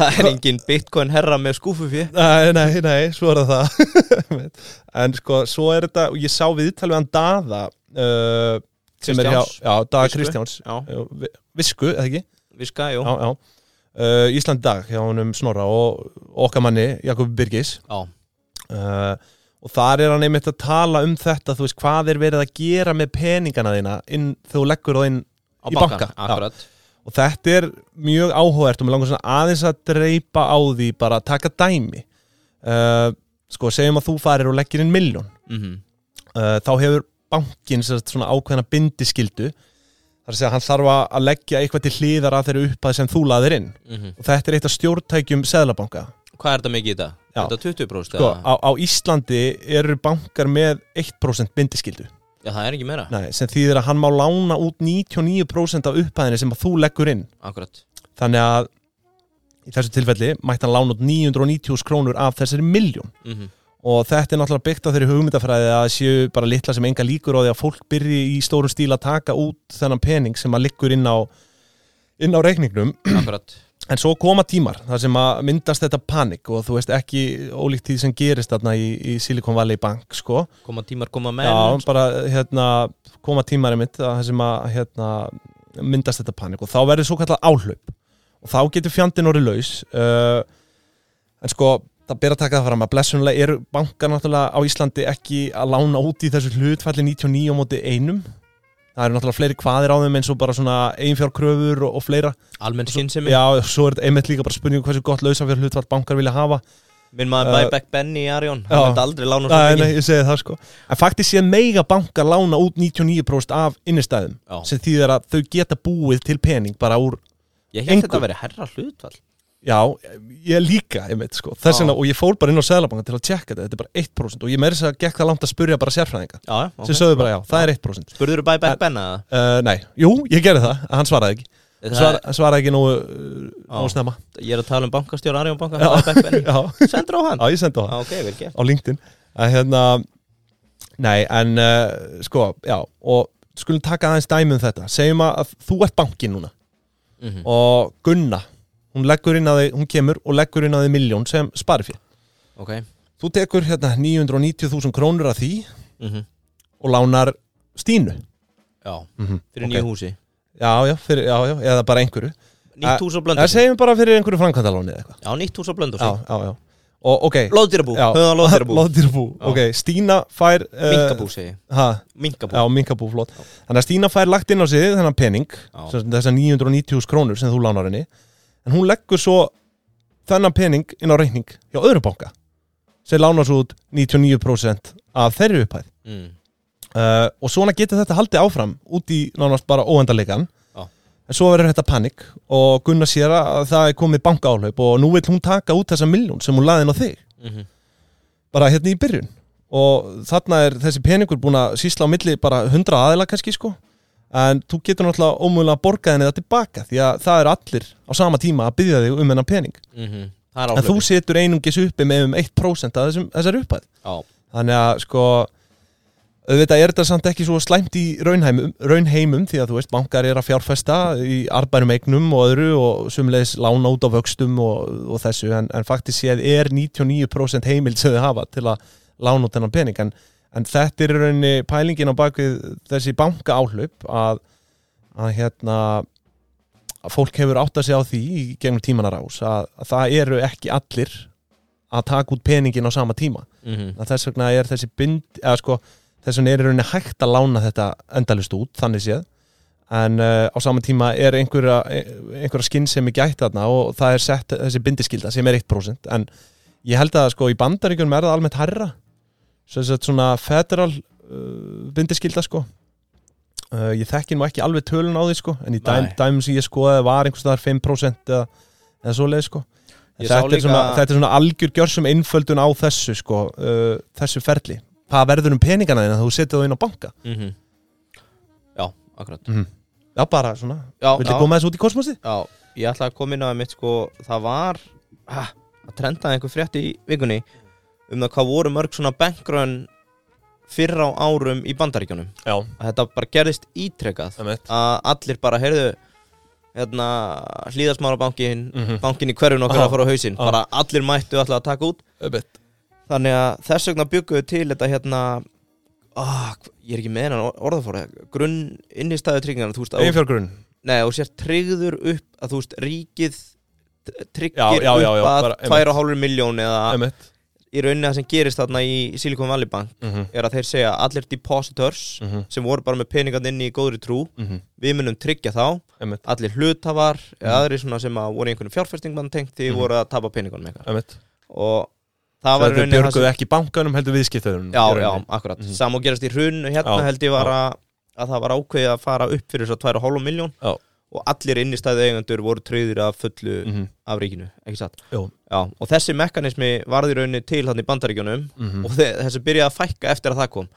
[SPEAKER 1] [laughs] Það er engin bitcoin herra með skúfu fyrir
[SPEAKER 2] Nei, nei, nei, svo er það það. [laughs] en sko, svo er þetta og ég sá viðtal við hann Daða uh, sem er hjá,
[SPEAKER 1] Kristjáns.
[SPEAKER 2] já, Daða
[SPEAKER 1] Visku.
[SPEAKER 2] Kristjáns
[SPEAKER 1] Já,
[SPEAKER 2] uh, vi- Visku, eða ekki?
[SPEAKER 1] við skæjó
[SPEAKER 2] Já, já uh, Ísland í dag hjá honum Snorra og og okkar manni, Jakob Birgis
[SPEAKER 1] Já,
[SPEAKER 2] uh, og þar er hann einmitt að tala um þetta þú veist hvað er verið að gera með peningana þína inn, þú leggur það inn
[SPEAKER 1] á
[SPEAKER 2] Í
[SPEAKER 1] banka,
[SPEAKER 2] banka, já.
[SPEAKER 1] akkurat
[SPEAKER 2] og þetta er mjög áhugavert og mér langar svona aðeins að dreipa á því bara að taka dæmi uh, sko segjum að þú farir og leggir inn milljón
[SPEAKER 1] Mhm,
[SPEAKER 2] uh, þá hefur bankin sagt, svona ákveðna bindiskildu þar að segja að hann þarf að að leggja eitthvað til hliðar að þeirri upphæð sem þú laðir inn
[SPEAKER 1] mhm.
[SPEAKER 2] og þetta er eitt af stjórntækjum seðlabanka
[SPEAKER 1] Hvað er þetta mikið í dag?
[SPEAKER 2] Já.
[SPEAKER 1] Þetta 20 bróst
[SPEAKER 2] sko, á, á Íslandi eru bankar með 1% bindiskildu
[SPEAKER 1] Já, það er ekki meira,
[SPEAKER 2] Nei, sem þýðir að hann má lána út 99% af upphæðinni sem að þú leggur inn
[SPEAKER 1] akkurat
[SPEAKER 2] þannig að í þessu tilfelli mætti hann lána út 990 krónur af þessari miljón
[SPEAKER 1] Mhm,
[SPEAKER 2] og þetta er náttúrulega byggt á þeirri hugmyndafræði að það séu bara litla sem enga líkur á því að fólk byrji í stórum stíl að taka út þennan pening sem að liggur inn á inn á reikningnum
[SPEAKER 1] Akkurat
[SPEAKER 2] en svo koma tímar þar sem að myndast þetta panik og þú veist ekki ólíkt því sem gerist þarna í, í Silicon Valley Bank sko
[SPEAKER 1] Koma tímar, koma
[SPEAKER 2] Já,
[SPEAKER 1] menn
[SPEAKER 2] bara hérna, koma tímari mitt að það sem að hérna, myndast þetta panik og þá verður svo kallar áhlaup og þá getur fjandinn orðið laus uh, en sko það ber að taka það fram að blessunlega eru bankar náttúrulega á Íslandi ekki að lána út í þessu hlutfalli 99 á móti einum það eru náttúrulega fleiri hvaðir á þeim eins og bara svona einfjárkröfur og, og fleira
[SPEAKER 1] Almenn skynsemi
[SPEAKER 2] Já, svo er þetta einmitt líka bara spurning um hversu gott lausafjár hlutfall bankar vilja hafa
[SPEAKER 1] Minn maður
[SPEAKER 2] Uh,
[SPEAKER 1] Buyback Benny í Arjón
[SPEAKER 2] já.
[SPEAKER 1] Hann hefði aldrei lána svo
[SPEAKER 2] Nei,
[SPEAKER 1] mikið
[SPEAKER 2] nei, ég segi það sko En faktist sé mega bankar lána út 99% af innistæðum
[SPEAKER 1] Já.
[SPEAKER 2] sem þýðir að þau geta búið til pening bara úr
[SPEAKER 1] Ég held
[SPEAKER 2] Engu.
[SPEAKER 1] þetta að vera herra hlutfall
[SPEAKER 2] Já, ég líka, ég veit, sko Þess
[SPEAKER 1] Já.
[SPEAKER 2] vegna, og ég fór bara inn á Seðlabanka til að tjekka þetta Þetta er bara 1% og ég meiri þess að gekk það langt að spurja bara sérfræðinga
[SPEAKER 1] Já, já, ok.
[SPEAKER 2] sem sögðu bara já, það er 1%
[SPEAKER 1] Spurður þú bæði
[SPEAKER 2] En-
[SPEAKER 1] Beck Benna?
[SPEAKER 2] Uh, nei, jú, ég gerði það, en hann svaraði ekki
[SPEAKER 1] eða?
[SPEAKER 2] Svar, Svaraði ekki nógu,
[SPEAKER 1] Já.
[SPEAKER 2] nógu snemma [laughs]
[SPEAKER 1] Ég er að tala um bankastjóra Arjón banka
[SPEAKER 2] Já.
[SPEAKER 1] Bæði Beck Benna
[SPEAKER 2] [laughs] Já,
[SPEAKER 1] Sendur á hann?
[SPEAKER 2] já ég sendi á
[SPEAKER 1] Já,
[SPEAKER 2] það
[SPEAKER 1] ok, vel gert
[SPEAKER 2] á LinkedIn að, hérna, Nei, en uh, sko, já og skulum taka aðeins dæmi um þetta segjum að, að þú ert bankin núna
[SPEAKER 1] Mhm.
[SPEAKER 2] og Gunna, hún leggur inn að þið hún kemur og leggur inn að þið miljón sem spari fyrir
[SPEAKER 1] Ok
[SPEAKER 2] Þú tekur hérna 990.000 krónur af því
[SPEAKER 1] Mhm.
[SPEAKER 2] og lánar Stínu
[SPEAKER 1] Já,
[SPEAKER 2] -hmm.
[SPEAKER 1] fyrir
[SPEAKER 2] Ok.
[SPEAKER 1] nýju húsi
[SPEAKER 2] Já, já, fyrir, já, já, eða bara einhverju
[SPEAKER 1] Nýtt hús á
[SPEAKER 2] Það
[SPEAKER 1] blöndur
[SPEAKER 2] segjum bara fyrir einhverju framkvæmdalóni eða eitthvað
[SPEAKER 1] Já, nýtt hús á blöndur
[SPEAKER 2] já, já, já. Og, ok,
[SPEAKER 1] Lóðdýrabú
[SPEAKER 2] Já.
[SPEAKER 1] Höfðan lóðdýrabú
[SPEAKER 2] Loðdýrabú
[SPEAKER 1] Já.
[SPEAKER 2] ok, Stína fær uh,
[SPEAKER 1] Minkabú segi ég.
[SPEAKER 2] ha,
[SPEAKER 1] Minkabú
[SPEAKER 2] já, minkabú, flott þannig að Stína fær lagt inn á sig þennan pening
[SPEAKER 1] Já.
[SPEAKER 2] sem- þessar 990 krónur sem þú lánar henni en hún leggur svo þennan pening inn á reikning hjá öðru banka sem lánar svo út 99% af þeirri upphæð
[SPEAKER 1] Mm.
[SPEAKER 2] uh, og svona getur þetta haldið áfram út í nánast bara óendarleikan
[SPEAKER 1] Já.
[SPEAKER 2] en svo verður þetta panik og Gunnar sér að það er komið bankaálaup og nú vill hún taka út þessa miljón sem hún laði inn á þig
[SPEAKER 1] Mhm.
[SPEAKER 2] bara hérna í byrjun og þarna er þessi peningur búin að sýsla á milli bara 100 aðila kannski sko en þú getur náttúrulega ómögulega að borga henni það tilbaka því að það eru allir á sama tíma að byggja þig um hennar pening
[SPEAKER 1] Mhm. Það er
[SPEAKER 2] en þú
[SPEAKER 1] áhlaupið
[SPEAKER 2] setur einungis uppi með um 1% af þessum, þessar upphæð
[SPEAKER 1] Já,
[SPEAKER 2] þannig að sko auðvitað er þetta samt ekki svo slæmt í raunheimum, raunheimum því að þú veist bankar er að fjárfesta í arbærum eignum og öðru og sumleis lána út á vöxtum og, og þessu en, en faktis séð er 99% heimild sem þau hafa til að lána út þennan pening en, en þetta er í rauninni pælingin á bakvið þessi banka áhlaup að, að hérna að fólk hefur átt að segja á því í gegnum tímanar ás að, að það eru ekki allir að taka út peningin á sama tíma
[SPEAKER 1] Mhm.
[SPEAKER 2] að þess vegna er þessi bind eða sko, þess vegna er í rauninni hægt að lána þetta endalist út, þannig séð en uh, á sama tíma er einhverja einhverja skinn sem er gætt þarna og það er sett þessi bindiskilda sem er 1% en ég held að sko í bandaríkjunum er það almennt herra sem sagt svona federal uh, bindiskilda sko uh, ég þekki nú ekki alveg tölun á því sko en í dæm,
[SPEAKER 1] Nei.
[SPEAKER 2] dæmum sem ég skoði var einhvers staðar 5% eða, eða svo sko
[SPEAKER 1] Ég
[SPEAKER 2] þetta,
[SPEAKER 1] sá
[SPEAKER 2] er svona,
[SPEAKER 1] líka-
[SPEAKER 2] þetta er svona algjör gjörsum einföldun á þessu sko, uh, þessu ferli hvað verður um peningana þína þegar þú setið þú inn á banka
[SPEAKER 1] Mhm. Já, akkurat
[SPEAKER 2] já bara svona,
[SPEAKER 1] Já,
[SPEAKER 2] viltu
[SPEAKER 1] já.
[SPEAKER 2] koma þessu út í kosmosi?
[SPEAKER 1] Já, ég ætla að koma inn á það mitt sko Það var ha, að trenda einhver frétt í vikunni um það hvað voru mörg svona bankrun fyrr á árum í bandaríkjunum
[SPEAKER 2] já,
[SPEAKER 1] að þetta bara gerðist ítrekað
[SPEAKER 2] það mitt
[SPEAKER 1] að allir bara, heyrðu hérna, hlýðarsmárabankin mm
[SPEAKER 2] Mhm.
[SPEAKER 1] bankin í hverjun okkar
[SPEAKER 2] Já,
[SPEAKER 1] að fara á hausinn
[SPEAKER 2] já.
[SPEAKER 1] bara allir mættu alltaf að taka út þannig að þess vegna bygguðu til þetta hérna ah, hv- ég er ekki með hennan orðafóra grunn innistæðu tryggingarna, þú veist að-
[SPEAKER 2] einfjörgrunn
[SPEAKER 1] Nei, og sér tryggður upp að þú veist, ríkið tr- tryggir
[SPEAKER 2] Já, já, já, já,
[SPEAKER 1] upp að
[SPEAKER 2] bara, einmitt.
[SPEAKER 1] 2,5 miljón eða
[SPEAKER 2] emitt
[SPEAKER 1] í rauninni það sem gerist þarna í Silicon Valley Bank
[SPEAKER 2] Mhm.
[SPEAKER 1] er að þeir segja að allir depositors
[SPEAKER 2] Mm.
[SPEAKER 1] sem voru bara með peningarn inni í góðri trú
[SPEAKER 2] Mhm.
[SPEAKER 1] við munum tryggja þá,
[SPEAKER 2] emitt
[SPEAKER 1] allir hlutafar
[SPEAKER 2] Mm.
[SPEAKER 1] eða aðri svona sem að voru í einhvern fjárfestingmann tengt því
[SPEAKER 2] Mhm.
[SPEAKER 1] voru að tapa peningarnum eitthvað
[SPEAKER 2] emitt
[SPEAKER 1] og það var í
[SPEAKER 2] þetta
[SPEAKER 1] rauninni það
[SPEAKER 2] björguðu ekki bankanum heldur viðskiptöðunum
[SPEAKER 1] Já, já, akkurat, mm
[SPEAKER 2] Mhm.
[SPEAKER 1] -hmm. sam og gerast í hrun hérna
[SPEAKER 2] Já,
[SPEAKER 1] held ég var
[SPEAKER 2] já.
[SPEAKER 1] að, að það var ákveðið að fara upp fyrir þess að 2,5 miljón
[SPEAKER 2] Já.
[SPEAKER 1] og allir innistæðu eigendur voru tröðir af fullu
[SPEAKER 2] Mhm.
[SPEAKER 1] af ríkinu, ekki satt?
[SPEAKER 2] Jú.
[SPEAKER 1] Já, og þessi mekanismi varði rauninni til hann í bandaríkjunum
[SPEAKER 2] Mhm.
[SPEAKER 1] og þe- þessi byrjaði að fækka eftir að það kom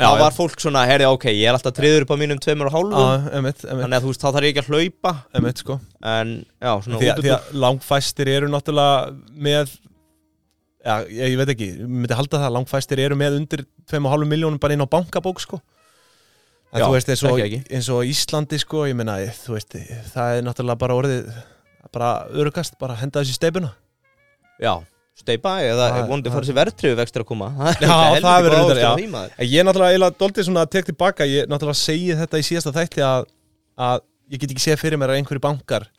[SPEAKER 2] Já,
[SPEAKER 1] þá
[SPEAKER 2] já.
[SPEAKER 1] var fólk svona, herri, ok, ég er alltaf tröður upp á mínum tveimur og hálfum,
[SPEAKER 2] emitt, emitt
[SPEAKER 1] þannig að þú veist, þá þarf ég ekki að hlaupa
[SPEAKER 2] emitt sko
[SPEAKER 1] en, já, svona
[SPEAKER 2] því,
[SPEAKER 1] út
[SPEAKER 2] að-
[SPEAKER 1] út
[SPEAKER 2] því
[SPEAKER 1] úr
[SPEAKER 2] að langfæstir eru náttúrulega með já, ég, ég veit ekki, ég myndi halda það að langfæstir eru með undir 2,5 miljónum bara inn á bankabók sko en
[SPEAKER 1] Já,
[SPEAKER 2] þú veist eins og,
[SPEAKER 1] ekki, ekki.
[SPEAKER 2] eins og Íslandi sko, ég meina þú veist, það er náttúrulega bara orðið bara örugast, bara henda þessi steipuna
[SPEAKER 1] já, steipa eða
[SPEAKER 2] Það-
[SPEAKER 1] vondi
[SPEAKER 2] það-
[SPEAKER 1] fara sér verðtriðu vextir að koma [laughs]
[SPEAKER 2] Já, það verður reyndar, já.
[SPEAKER 1] já
[SPEAKER 2] En ég er náttúrulega eiginlega doldið svona að tek tilbaka ég náttúrulega segi þetta í síðasta þætti að, að ég get ekki séð fyrir mér að einhverju bankar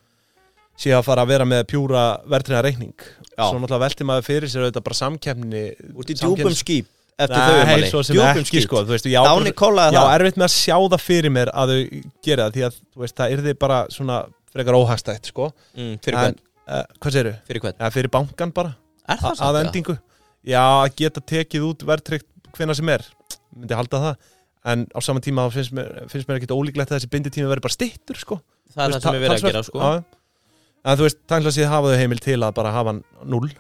[SPEAKER 2] sé að fara að vera með pjúra verðtriða reikning
[SPEAKER 1] Já.
[SPEAKER 2] svo náttúrulega velti maður fyrir sér auðvitað bara samkeppni
[SPEAKER 1] Úr í
[SPEAKER 2] samkeppnis-
[SPEAKER 1] djúpum skýp eftir þau
[SPEAKER 2] Nei,
[SPEAKER 1] ummæli
[SPEAKER 2] svo sem
[SPEAKER 1] Djúpum
[SPEAKER 2] ekki
[SPEAKER 1] skít.
[SPEAKER 2] sko, þú veist, já,
[SPEAKER 1] Dáni kólaði
[SPEAKER 2] já,
[SPEAKER 1] það
[SPEAKER 2] erfitt með að sjá það fyrir mér að þau gera það, því að þú veist, það yrði bara svona frekar óhagstætt, sko
[SPEAKER 1] Mm, Fyrir
[SPEAKER 2] en,
[SPEAKER 1] hvern,
[SPEAKER 2] uh, hvað segirðu?
[SPEAKER 1] fyrir hvern
[SPEAKER 2] Ja, fyrir bankan bara,
[SPEAKER 1] Er það
[SPEAKER 2] að
[SPEAKER 1] samt,
[SPEAKER 2] endingu Já, að geta tekið út verðtryggt hvena sem er, myndi halda það en á saman tíma þá finnst mér, finnst mér ekkit ólíklegt að þessi binditími verði bara stittur, sko
[SPEAKER 1] það er
[SPEAKER 2] Þú
[SPEAKER 1] það sem
[SPEAKER 2] veist, ta-
[SPEAKER 1] við verðum að
[SPEAKER 2] talsvert-
[SPEAKER 1] gera sko
[SPEAKER 2] Já. en þú veist, tannlasið hafa þau heimil til að bara hafa hann 0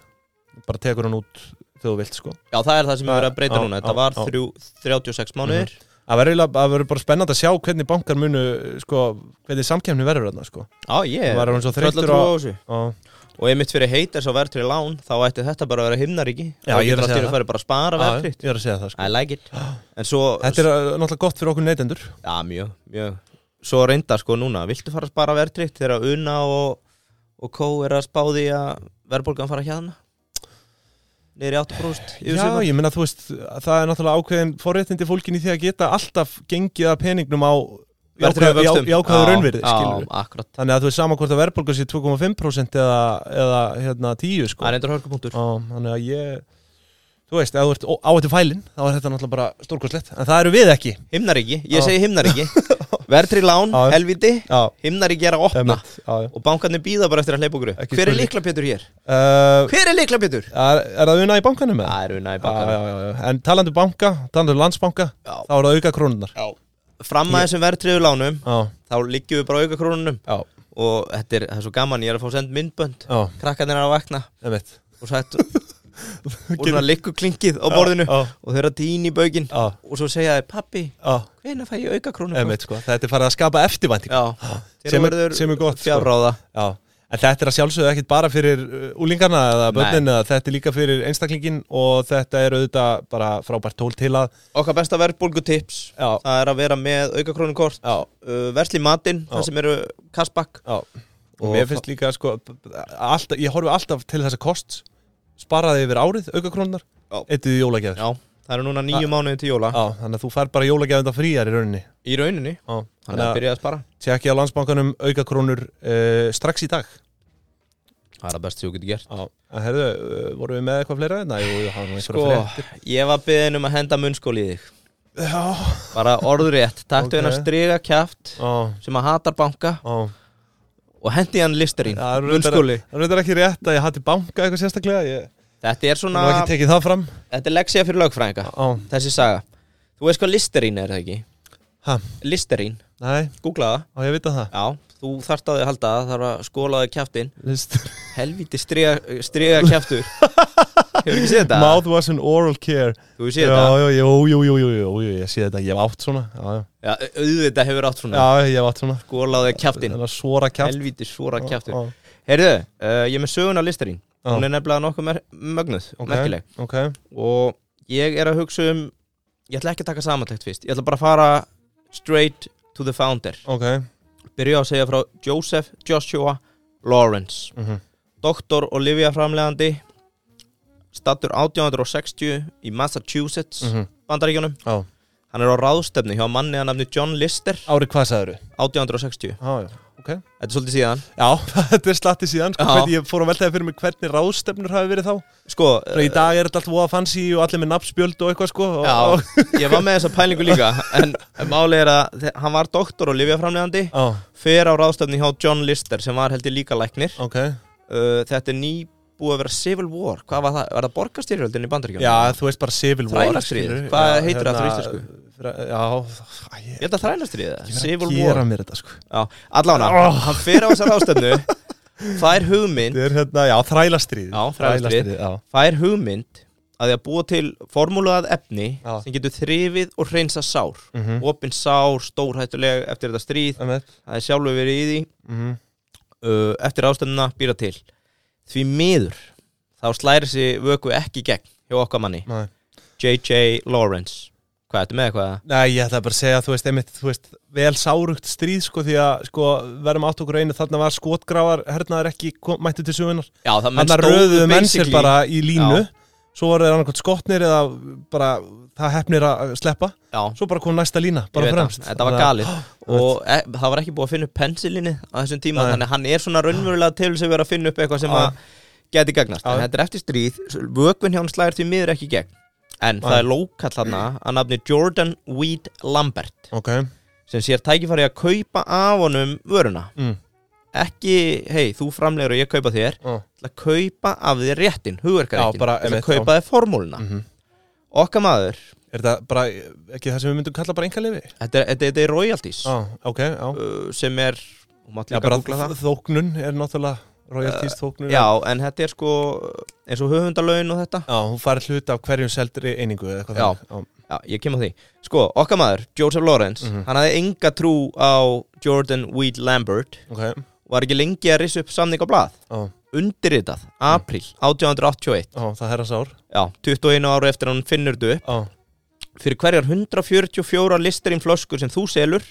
[SPEAKER 2] bara tekur hann út þegar þú vilt sko
[SPEAKER 1] Já, það er það sem
[SPEAKER 2] Það-
[SPEAKER 1] er verið að breyta
[SPEAKER 2] á,
[SPEAKER 1] núna
[SPEAKER 2] á,
[SPEAKER 1] Þetta var
[SPEAKER 2] á.
[SPEAKER 1] þrjú, 36 mánuðir
[SPEAKER 2] það verður eiginlega- það verður bara spennandi að sjá hvernig bankar munu sko, hvernig samkefni verður þarna sko
[SPEAKER 1] Já, ég
[SPEAKER 2] Það var hann svo þreyttur
[SPEAKER 1] tröllatrú
[SPEAKER 2] á-
[SPEAKER 1] á þessu
[SPEAKER 2] og
[SPEAKER 1] Og einmitt fyrir heitir svo verðtri lán Þá ætti þetta bara að vera himnaríki
[SPEAKER 2] Já,
[SPEAKER 1] Þá
[SPEAKER 2] ég er að
[SPEAKER 1] getur allt í
[SPEAKER 2] segja
[SPEAKER 1] einu
[SPEAKER 2] það.
[SPEAKER 1] farið bara að spara
[SPEAKER 2] Já,
[SPEAKER 1] verðtri
[SPEAKER 2] ég er að segja það sko
[SPEAKER 1] I like it En svo
[SPEAKER 2] Þetta er uh, náttúrulega gott fyrir okkur neytendur
[SPEAKER 1] Já, mjög, mjög Svo reyndar sko núna, viltu fara að spara verðtrykt þegar Una og, og Kó er að spá því að verðbólgan fara hérna Niður í 8 brúst
[SPEAKER 2] Já, ég meina þú veist, það er náttúrulega ákveðin forréttindi fólkin í því að geta alltaf gengið að peningnum á jákvæðu já, jákvæðu raunvirði, Sko. skilur
[SPEAKER 1] Já, akkurat,
[SPEAKER 2] Þannig að þú veist sama hvort að verðbólga sé 2,5% eða, eða hérna 10 sko
[SPEAKER 1] það er endur hörkupunktur
[SPEAKER 2] Já, þannig að ég Þú veist, ef þú ert áættu fælin þá er þetta náttúrulega bara stórkostlegt en það eru við ekki
[SPEAKER 1] Himnaríki, ég
[SPEAKER 2] Já.
[SPEAKER 1] segi
[SPEAKER 2] [laughs]
[SPEAKER 1] himnaríki Verðtrykt lán,
[SPEAKER 2] Já.
[SPEAKER 1] helviti
[SPEAKER 2] Já,
[SPEAKER 1] Himnaríki er að opna
[SPEAKER 2] emmitt uh,
[SPEAKER 1] Og bankarnir býða bara eftir að hleypa okkur upp.
[SPEAKER 2] Ekki
[SPEAKER 1] Hver er
[SPEAKER 2] spurning.
[SPEAKER 1] líkla Pétur hér?
[SPEAKER 2] er,
[SPEAKER 1] Hver er líkla Pétur?
[SPEAKER 2] Eh, er það unna í bankanum með?
[SPEAKER 1] Það er Una í
[SPEAKER 2] Já,
[SPEAKER 1] bankarnir
[SPEAKER 2] já, já, já. En talandu banka, talandu landsbanka
[SPEAKER 1] Já.
[SPEAKER 2] þá eru það auka krónunar
[SPEAKER 1] Já. Fram að þessum verðtrykt lánum
[SPEAKER 2] Já,
[SPEAKER 1] Þá liggjum við bara auka krónunum
[SPEAKER 2] já,
[SPEAKER 1] og þetta er, það er svo gaman, ég er að fá send myndbönd
[SPEAKER 2] já,
[SPEAKER 1] krakkarnir er að vakna
[SPEAKER 2] emmitt
[SPEAKER 1] og
[SPEAKER 2] [laughs]
[SPEAKER 1] sætt og svona likku klingið á borðinu
[SPEAKER 2] Já,
[SPEAKER 1] og þau eru að dýna í baugin
[SPEAKER 2] já,
[SPEAKER 1] og svo segja þeir pappi,
[SPEAKER 2] já,
[SPEAKER 1] hvena fæ ég auka krónu
[SPEAKER 2] emmitt sko Þetta er farið að skapa eftirvænting
[SPEAKER 1] já,
[SPEAKER 2] sem, er- sem er gott sko.
[SPEAKER 1] fjárráða
[SPEAKER 2] Já, en þetta er að sjálfsögðu ekkit bara fyrir uh, úlingarna eða
[SPEAKER 1] Nei.
[SPEAKER 2] börnin eða þetta er líka fyrir einstaklingin og þetta er auðvitað bara frábært tól til að
[SPEAKER 1] okkar besta verðbólgu tips
[SPEAKER 2] Já,
[SPEAKER 1] það er að vera með auka krónukort
[SPEAKER 2] já,
[SPEAKER 1] uh, versli í matinn,
[SPEAKER 2] Já.
[SPEAKER 1] það sem eru kassbakk
[SPEAKER 2] já og
[SPEAKER 1] Og
[SPEAKER 2] mér finnst líka sko alltaf, ég horfi alltaf til þessa kost sparaði yfir árið, aukakrónar
[SPEAKER 1] Já.
[SPEAKER 2] eittuð í jólagjafir
[SPEAKER 1] já, það eru núna nýju mánuði til jóla
[SPEAKER 2] Já, þannig að þú fær bara jólagjafenda fríjar í rauninni
[SPEAKER 1] í rauninni,
[SPEAKER 2] Já,
[SPEAKER 1] þannig að
[SPEAKER 2] þannig að
[SPEAKER 1] byrja að spara
[SPEAKER 2] tjekki á landsbankanum aukakrónur uh, strax í dag
[SPEAKER 1] það er að best sem þú getur gert
[SPEAKER 2] Já, en herðu, uh, vorum við með eitthvað fleira? Nei, jú, jú, hann var einhverja
[SPEAKER 1] sko, ég var byggðin um að henda munnskóli í þig
[SPEAKER 2] fleiri Já,
[SPEAKER 1] bara orðrétt,
[SPEAKER 2] Ok.
[SPEAKER 1] taktu hennar striga kjaft
[SPEAKER 2] já,
[SPEAKER 1] sem að hatar banka
[SPEAKER 2] já
[SPEAKER 1] og hendi hann listerín
[SPEAKER 2] Það er reyndar-
[SPEAKER 1] munnskóli
[SPEAKER 2] Það er reyndar ekki rétt að ég hati banka eitthvað sérstaklega Ég
[SPEAKER 1] þetta er
[SPEAKER 2] hef nú
[SPEAKER 1] svona,
[SPEAKER 2] ekki tekið það fram
[SPEAKER 1] þetta er leksja fyrir lögfræðinga
[SPEAKER 2] Á,
[SPEAKER 1] þessi saga, þú veist hvað listerín er það ekki
[SPEAKER 2] hæ,
[SPEAKER 1] listerín,
[SPEAKER 2] nei,
[SPEAKER 1] googla það
[SPEAKER 2] á ég vita það
[SPEAKER 1] já, þú þarft á því að halda það, þarf að skóla það kjaftin
[SPEAKER 2] List.
[SPEAKER 1] helviti striga, striga
[SPEAKER 2] [laughs]
[SPEAKER 1] kjaftur hefur ekki séð þetta?
[SPEAKER 2] Mouthwash and oral care
[SPEAKER 1] þú hefur
[SPEAKER 2] Já,
[SPEAKER 1] séð þetta?
[SPEAKER 2] já, jú, jú, jú, jú, jú, jú, ég sé þetta, ég hef átt svona Já, já,
[SPEAKER 1] Já, auðvitað hefur átt svona,
[SPEAKER 2] já ég hef átt svona
[SPEAKER 1] skólaði kjaftin
[SPEAKER 2] Þannig að svora kjátt
[SPEAKER 1] helviti svora kjaftur heyrðu, uh, ég er með söguna listerín
[SPEAKER 2] Já.
[SPEAKER 1] hún er nefnilega nokkuð mer mögnuð, merkileg
[SPEAKER 2] Ok,
[SPEAKER 1] og ég er að hugsa um ég ætla ekki að taka samantækt fyrst ég ætla bara að fara straight to the founder
[SPEAKER 2] ok
[SPEAKER 1] byrja á að segja frá Joseph Joshua Lawrence
[SPEAKER 2] mhm.
[SPEAKER 1] doktor og livjaframlegandi stattur 1860 í Massachusetts
[SPEAKER 2] Mhm.
[SPEAKER 1] bandaríkjunum
[SPEAKER 2] Já.
[SPEAKER 1] hann er á ráðstefni hjá manni að nafni John Lister
[SPEAKER 2] Árið hvað sagður
[SPEAKER 1] 1860
[SPEAKER 2] Já, já, ok
[SPEAKER 1] þetta er svolítið síðan
[SPEAKER 2] Já, [laughs] þetta er slatti síðan, sko,
[SPEAKER 1] Já.
[SPEAKER 2] hvernig ég fór að veltaði fyrir mig hvernig ráðstefnur hafi verið þá
[SPEAKER 1] sko,
[SPEAKER 2] Í dag er þetta allt voða fancy og allir með nafnspjöld og eitthvað, sko og,
[SPEAKER 1] já, [laughs] ég var með þessa pælingu líka en máli er að þe- hann var doktor og livjaframlegandi
[SPEAKER 2] og,
[SPEAKER 1] fer á ráðstefni hjá John Lister sem var heldur líka læknir
[SPEAKER 2] já ok
[SPEAKER 1] uh, þetta er ný búið að vera Civil War hvað var það, var það borgarstyrjöldin í bandaríkjunum?
[SPEAKER 2] Já, þú veist bara Civil War
[SPEAKER 1] Þrælastríðið,
[SPEAKER 2] skilur.
[SPEAKER 1] hvað
[SPEAKER 2] Já,
[SPEAKER 1] heitir það aftur á
[SPEAKER 2] þra- Já, æ, ég
[SPEAKER 1] ég held að þrælastriðið það,
[SPEAKER 2] ég
[SPEAKER 1] Civil
[SPEAKER 2] verð að
[SPEAKER 1] War
[SPEAKER 2] gera mér þetta sko
[SPEAKER 1] Já, allána,
[SPEAKER 2] Oh.
[SPEAKER 1] hann fer á þessa ráðstefnu fær hugmynd
[SPEAKER 2] Þetta er hérna, já, þrælastrýð
[SPEAKER 1] Já, þrælastríð.
[SPEAKER 2] já.
[SPEAKER 1] fær hugmynd að því að búa til formúlaðað efni
[SPEAKER 2] Já.
[SPEAKER 1] sem getur þrifið og hreinsa sár
[SPEAKER 2] Mm
[SPEAKER 1] opin sár, stórhættuleg eftir þetta stríð það er sjálfur verið í því
[SPEAKER 2] Mhm.
[SPEAKER 1] uh, eftir ráðstefnuna býra til því miður þá slæri sig vöku ekki í gegn hjá okkar manni
[SPEAKER 2] Nei.
[SPEAKER 1] J.J. Lawrence hvað, ertu með eitthvað?
[SPEAKER 2] Nei, ég ætla bara að segja, þú veist, einmitt, þú veist, vel sárugt stríð, sko, því að, sko, verðum átt okkur á einu, þarna var skotgrafar, hernaðar ekki, kom, mættu til sögunar.
[SPEAKER 1] Já, það menn
[SPEAKER 2] Þarna
[SPEAKER 1] stóðu
[SPEAKER 2] röðuðu menn sér
[SPEAKER 1] basically
[SPEAKER 2] bara í línu,
[SPEAKER 1] Já.
[SPEAKER 2] svo voru þeir annarkvæmt skotnir eða bara, það hefnir að sleppa,
[SPEAKER 1] Já,
[SPEAKER 2] svo bara kom næsta lína,
[SPEAKER 1] ég
[SPEAKER 2] bara
[SPEAKER 1] veit
[SPEAKER 2] fremst.
[SPEAKER 1] það, þetta var
[SPEAKER 2] Þannig að-
[SPEAKER 1] galið
[SPEAKER 2] [gasps]
[SPEAKER 1] og e, það var ekki búið að finna upp pensilinni á þessum tíma,
[SPEAKER 2] Nei.
[SPEAKER 1] þannig að hann er svona raunverulega til sem verið að finna upp eitthvað sem
[SPEAKER 2] Já.
[SPEAKER 1] að geti gagnast,
[SPEAKER 2] Já.
[SPEAKER 1] en þetta er eftir stríð vökun hjá hann slæðir því miður ekki í gegn en það
[SPEAKER 2] Nei.
[SPEAKER 1] er lókall hann að nafni Jordan Weed Lambert
[SPEAKER 2] Ok,
[SPEAKER 1] sem sér tækifæri að kaupa af honum vöruna
[SPEAKER 2] mm.
[SPEAKER 1] ekki, hei, þú framlegur og ég kaupa þér
[SPEAKER 2] Já.
[SPEAKER 1] til að kaupa af þér réttin,
[SPEAKER 2] Já,
[SPEAKER 1] hugverkaréttin
[SPEAKER 2] bara,
[SPEAKER 1] til að
[SPEAKER 2] einmitt, já.
[SPEAKER 1] kaupa þér formúluna
[SPEAKER 2] Mhm.
[SPEAKER 1] okkar maður,
[SPEAKER 2] Er þetta bara, ekki það sem við myndum kalla bara engaleifi?
[SPEAKER 1] þetta er, þetta er, þetta er royalties
[SPEAKER 2] Já, ok, já.
[SPEAKER 1] uh, sem er hún mátt
[SPEAKER 2] Já,
[SPEAKER 1] líka
[SPEAKER 2] bara
[SPEAKER 1] googla það
[SPEAKER 2] þóknun er náttúrulega royalties tóknur
[SPEAKER 1] Já, en þetta er sko eins og höfundalaun og þetta
[SPEAKER 2] Já, hún fær hlut af hverjum seldri einingu eða eitthvað
[SPEAKER 1] Já.
[SPEAKER 2] þannig.
[SPEAKER 1] Já, ég kem að því Sko, okkar maður, Joseph Lawrence
[SPEAKER 2] Mhm.
[SPEAKER 1] Hann hafði enga trú á Jordan Weed Lambert
[SPEAKER 2] Já, ok,
[SPEAKER 1] Var ekki lengi að rissa upp samning á blað
[SPEAKER 2] já,
[SPEAKER 1] Undirritað, april,
[SPEAKER 2] Mhm.
[SPEAKER 1] 1881
[SPEAKER 2] já, það herras ár
[SPEAKER 1] Já, 21 ára eftir að hann finnur þetta upp
[SPEAKER 2] Já,
[SPEAKER 1] Fyrir hverjar 144 listerinn flöskur sem þú selur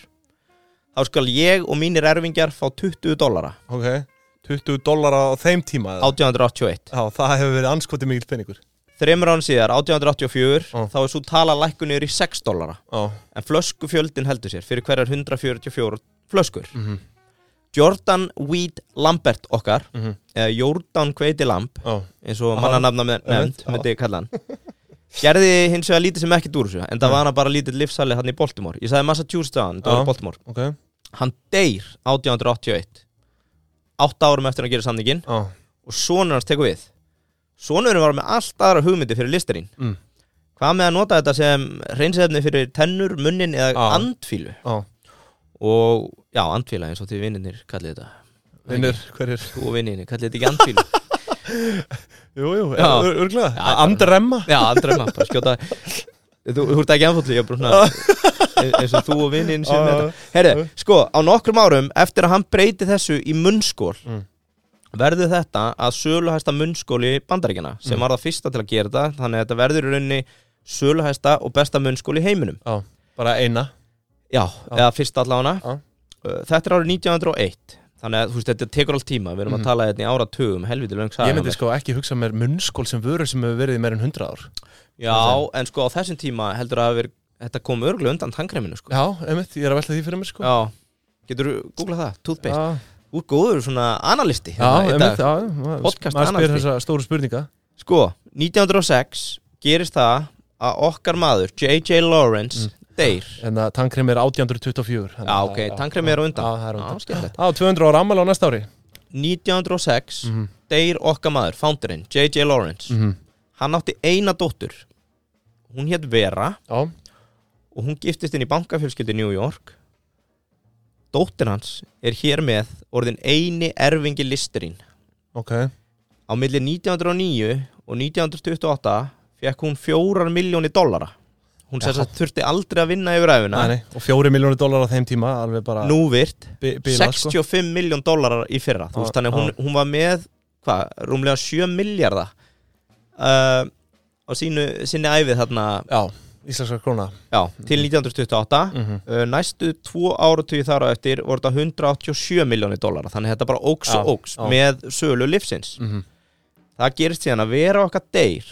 [SPEAKER 1] Þá skal ég og mínir erfingjar fá 20 dollara
[SPEAKER 2] ok 20 dólar á þeim tíma eða?
[SPEAKER 1] 1881
[SPEAKER 2] Já, það hefur verið anskoti mikil peningur
[SPEAKER 1] Þreymur án síðar, 1884
[SPEAKER 2] Já.
[SPEAKER 1] Þá er svo tala lækkunir í 6 dollara
[SPEAKER 2] Já,
[SPEAKER 1] En flöskufjöldin heldur sér fyrir hverjar 144 flöskur
[SPEAKER 2] mhm,
[SPEAKER 1] Jordan Weed Lambert okkar
[SPEAKER 2] mhm,
[SPEAKER 1] eða Jordan Kveiti Lamb
[SPEAKER 2] já
[SPEAKER 1] eins og
[SPEAKER 2] Já,
[SPEAKER 1] mannanafna með- nefnd
[SPEAKER 2] einmitt, já.
[SPEAKER 1] myndi ég kalla hann gerði hins vegar lítið sem ekkert úr þessu en það
[SPEAKER 2] Nei.
[SPEAKER 1] var hann bara lítið lifsalið hann í Baltimore ég sagði Massachusetts á hann, það
[SPEAKER 2] Já.
[SPEAKER 1] var í Baltimore
[SPEAKER 2] Ok, já,
[SPEAKER 1] hann deyr 1881 átta árum eftir að gera samningin og sonur hans tekur við sonurinn var með allt aðra hugmyndi fyrir listerinn
[SPEAKER 2] Mm.
[SPEAKER 1] hvað með að nota þetta sem reynsefni fyrir tennur, munnin eða
[SPEAKER 2] Já.
[SPEAKER 1] andfílu
[SPEAKER 2] já
[SPEAKER 1] og já, andfíla eins og því vinninir kallið þetta
[SPEAKER 2] Vinnur, hverjir?
[SPEAKER 1] Þú og vinninni, kallið þetta ekki andfílu
[SPEAKER 2] [laughs] Jú, jú,
[SPEAKER 1] Já.
[SPEAKER 2] ör- örglega
[SPEAKER 1] Já,
[SPEAKER 2] Andremma
[SPEAKER 1] Já, andremma, bara skjóta Þú, þú ert ekki anfólli, ég er bara svona
[SPEAKER 2] [laughs]
[SPEAKER 1] e- eins og þú og vinnin sem
[SPEAKER 2] Já,
[SPEAKER 1] þetta Herru, sko, á nokkrum árum eftir að hann breyti þessu í munnskól
[SPEAKER 2] Mm.
[SPEAKER 1] verður þetta að söluhæsta munnskóli bandaríkjana
[SPEAKER 2] Mm.
[SPEAKER 1] sem var það fyrsta til að gera þetta þannig að þetta verður í rauninni söluhæsta og besta munnskóli í heiminum
[SPEAKER 2] Já, bara eina
[SPEAKER 1] Já, eða fyrsta allána
[SPEAKER 2] Já.
[SPEAKER 1] Þetta er árið 1901 Þannig að þú veist, þetta tekur allt tíma Við erum
[SPEAKER 2] Mhm.
[SPEAKER 1] að tala þetta í áratugum, helviti löng saga
[SPEAKER 2] Ég
[SPEAKER 1] hjá
[SPEAKER 2] myndi
[SPEAKER 1] mér.
[SPEAKER 2] sko ekki hugsa mér munnskól sem vörur sem hefur verið í meir en 100 ár
[SPEAKER 1] Já, en sko á þessum tíma heldur að hafi verið- þetta kom örgulega undan tangreminu sko.
[SPEAKER 2] Já, einmitt, ég er að velta því fyrir mér sko
[SPEAKER 1] Já, getur þú googlað það, toothpaste
[SPEAKER 2] Já,
[SPEAKER 1] Þú er góður svona analisti
[SPEAKER 2] já
[SPEAKER 1] hérna í dag.
[SPEAKER 2] einmitt, já, maður-
[SPEAKER 1] Podcast
[SPEAKER 2] maður spyr
[SPEAKER 1] annars
[SPEAKER 2] þessa stóru spurninga
[SPEAKER 1] Sko, 1906 gerist það að okkar maður J.J. Lawrence
[SPEAKER 2] Mm.
[SPEAKER 1] deyr
[SPEAKER 2] En það tankrem Hérna, er 1824
[SPEAKER 1] Já,
[SPEAKER 2] þannig að-
[SPEAKER 1] ok, tankrem er á undan.
[SPEAKER 2] Já, það er á
[SPEAKER 1] Já,
[SPEAKER 2] undan
[SPEAKER 1] skemmtilegt.
[SPEAKER 2] Já, 200 ára ammæli á næsta ári
[SPEAKER 1] 1906
[SPEAKER 2] Mhm.
[SPEAKER 1] deyr okkar maður, founderinn, J.J. Lawrence
[SPEAKER 2] Mhm.
[SPEAKER 1] Hann átti eina dóttur Hún hétt Vera
[SPEAKER 2] Já,
[SPEAKER 1] og hún giftist inn í bankafjölskyldi New York Dóttir hans er hér með orðin eini erfingi listurinn
[SPEAKER 2] ok
[SPEAKER 1] Á milli 1909 og 1928 fekk hún fjórar miljóni dollara. Hún sér
[SPEAKER 2] Já.
[SPEAKER 1] að þurfti aldrei að vinna yfir æfina.
[SPEAKER 2] nei, nei. Og 4 miljónir dólar á þeim tíma Alveg bara
[SPEAKER 1] Núvirt,
[SPEAKER 2] bi- bilað, sko.
[SPEAKER 1] 65 miljón dollarar í fyrra. Þú veist,
[SPEAKER 2] Já,
[SPEAKER 1] þannig að hún, hún var með, hvað, rúmlega 7 miljarda uh, á sínu, sinni æfið þarna,
[SPEAKER 2] Já, íslenska króna
[SPEAKER 1] já, til
[SPEAKER 2] Mhm.
[SPEAKER 1] 1928.
[SPEAKER 2] mm -hmm.
[SPEAKER 1] Uh, næstu tvo áratugi þar á eftir voru þetta 187 miljóni dollara. Þannig að þetta bara óks og
[SPEAKER 2] Já,
[SPEAKER 1] óks
[SPEAKER 2] já. Mhm.
[SPEAKER 1] með sölu lifsins. það gerist síðan að vera okkar deyr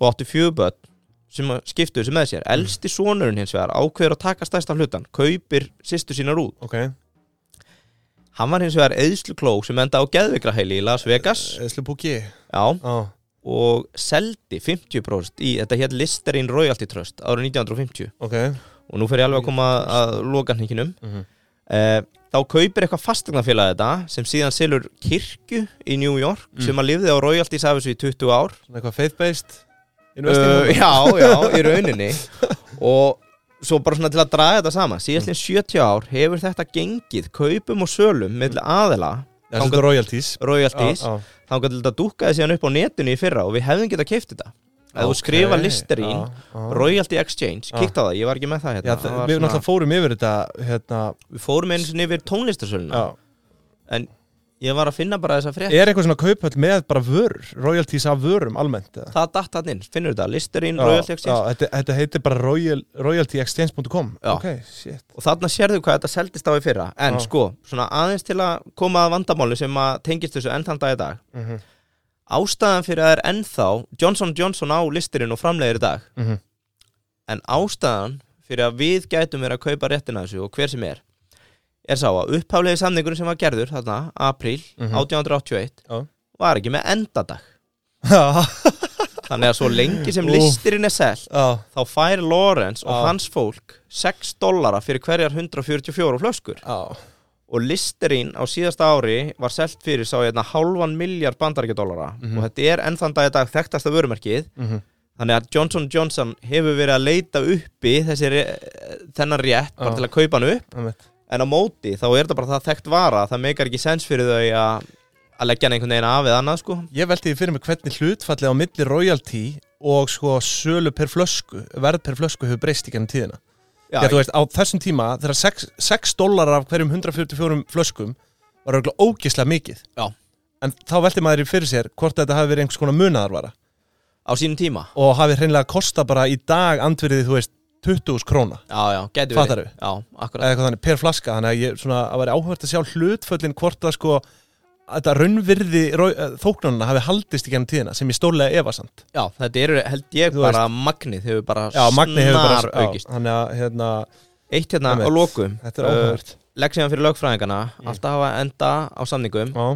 [SPEAKER 1] og átti fjöguböld sem að skiptu þessu með sér elsti sonurinn hins vegar ákveður að taka stærsta hlutan kaupir sýstu sínar út
[SPEAKER 2] Ok, Eh,
[SPEAKER 1] hann var hins vegar eðslukló sem enda á geðvikraheili í Las Vegas
[SPEAKER 2] Eslu Búki
[SPEAKER 1] já,
[SPEAKER 2] Já,
[SPEAKER 1] og seldi 50% í þetta hér Listerine Royalty Trust árið 1950
[SPEAKER 2] ok
[SPEAKER 1] og nú fer ég alveg að koma að loka hninginum
[SPEAKER 2] Mhm.
[SPEAKER 1] eh, þá kaupir eitthvað fastegnafélag þetta sem síðan selur kirkju í New York
[SPEAKER 2] Mm.
[SPEAKER 1] sem að lifði á royalties af þessu í 20 ár
[SPEAKER 2] Svona eitthvað faith-based
[SPEAKER 1] Uh,
[SPEAKER 2] Investing
[SPEAKER 1] já, já,
[SPEAKER 2] [laughs]
[SPEAKER 1] í rauninni Og svo bara svona til að draga þetta saman Síðastlega
[SPEAKER 2] Mm.
[SPEAKER 1] 70 ár hefur þetta gengið Kaupum og sölum með aðila
[SPEAKER 2] Já, þetta er royalties
[SPEAKER 1] Royalties
[SPEAKER 2] Já, já.
[SPEAKER 1] Þá gæti þetta dúkkaði síðan upp á netinu í fyrra Og við hefðum getað keift þetta Ef þú
[SPEAKER 2] Ok,
[SPEAKER 1] skrifa listir í
[SPEAKER 2] já, já.
[SPEAKER 1] Royalty Exchange,
[SPEAKER 2] Já.
[SPEAKER 1] kíkta á það, ég var ekki með það
[SPEAKER 2] Já,
[SPEAKER 1] hérna
[SPEAKER 2] þa-
[SPEAKER 1] Það var
[SPEAKER 2] við
[SPEAKER 1] svona-
[SPEAKER 2] náttúrulega fórum yfir þetta hérna,
[SPEAKER 1] Við fórum einu sinni yfir tónlistarsöluna
[SPEAKER 2] já.
[SPEAKER 1] Ég var að finna bara þessa frétt
[SPEAKER 2] Er eitthvað svona kaupöld með bara vörur royalties af vörum almennt eða?
[SPEAKER 1] Það datt hann inn, finnur þetta, listurinn,
[SPEAKER 2] Já,
[SPEAKER 1] Royalty Exchange
[SPEAKER 2] já, þetta, þetta heitir bara royal, royaltyexchange.com
[SPEAKER 1] Já.
[SPEAKER 2] Ok, shit
[SPEAKER 1] og þarna sérðu hvað þetta seldist á í fyrra en
[SPEAKER 2] Já.
[SPEAKER 1] sko, svona aðeins til að koma að vandamáli sem að tengist þessu enn þann dag í dag
[SPEAKER 2] mm -hmm.
[SPEAKER 1] ástæðan fyrir að það er ennþá Johnson Johnson á listurinn og framlegir í dag
[SPEAKER 2] Mm -hmm.
[SPEAKER 1] en ástæðan fyrir að við gætum verið að kaupa réttina þessu og hver sem er er sá að upphaflegi samningur sem var gerður þarna, apríl
[SPEAKER 2] Mhm.
[SPEAKER 1] 1881
[SPEAKER 2] Já.
[SPEAKER 1] var ekki með endadag
[SPEAKER 2] Já,
[SPEAKER 1] þannig að svo lengi sem
[SPEAKER 2] Úff.
[SPEAKER 1] listurinn er seld
[SPEAKER 2] já,
[SPEAKER 1] þá fær Lawrence og
[SPEAKER 2] Já.
[SPEAKER 1] hans fólk 6 dollara fyrir hverjar 144 flöskur
[SPEAKER 2] já
[SPEAKER 1] og Listerine á síðasta ári var selt fyrir sá hérna hálfan miljard bandarækjadólara
[SPEAKER 2] Mhm.
[SPEAKER 1] og þetta er ennþann dag í dag þekktasta vörumerkið
[SPEAKER 2] Mhm.
[SPEAKER 1] þannig að Johnson Johnson hefur verið að leita uppi þessi re- þennan rétt bara
[SPEAKER 2] Já.
[SPEAKER 1] til að kaupa hann upp
[SPEAKER 2] einmitt.
[SPEAKER 1] en á móti þá er þetta bara það þekkt vara það meikar ekki sens fyrir þau að að leggja hann einhvern veginn af eða annað sko
[SPEAKER 2] Ég velti því fyrir mig hvernig hlutfallið á milli royalty og sko sölu per flösku, verð per flösku hefur breyst í gennum tíðina.
[SPEAKER 1] Já,
[SPEAKER 2] Já, þú veist, á þessum tíma þegar 6, 6 dólarar af hverjum 144 flöskum var auðvitað ógislega mikið.
[SPEAKER 1] Já.
[SPEAKER 2] En þá velti maður í fyrir sér hvort þetta hafi verið einhvers konar munaðarvara
[SPEAKER 1] á sínum tíma
[SPEAKER 2] og hafi hreinlega kosta bara í dag andverðið, þú veist, 20.000 króna
[SPEAKER 1] Já, já, getur
[SPEAKER 2] Fattarðu?
[SPEAKER 1] Já, akkurat
[SPEAKER 2] eða eitthvað þannig, per flaska, þannig að ég svona, að væri áhvert að sjá hlutföllin hvort það sko að þetta raunvirði þóknunna hafi haldist í gennum tíðina sem ég stórlega efasamt.
[SPEAKER 1] Já, þetta eru held ég
[SPEAKER 2] Þú
[SPEAKER 1] bara magnið hefur bara
[SPEAKER 2] Já, Magni hefur bara
[SPEAKER 1] snar
[SPEAKER 2] já,
[SPEAKER 1] aukist
[SPEAKER 2] Þannig að hérna,
[SPEAKER 1] Eitt hérna á
[SPEAKER 2] Einmitt.
[SPEAKER 1] lokum uh,
[SPEAKER 2] þetta er áhugavert
[SPEAKER 1] Legg síðan fyrir lögfræðingana
[SPEAKER 2] Mm.
[SPEAKER 1] Alltaf hafa enda á samningum
[SPEAKER 2] Já,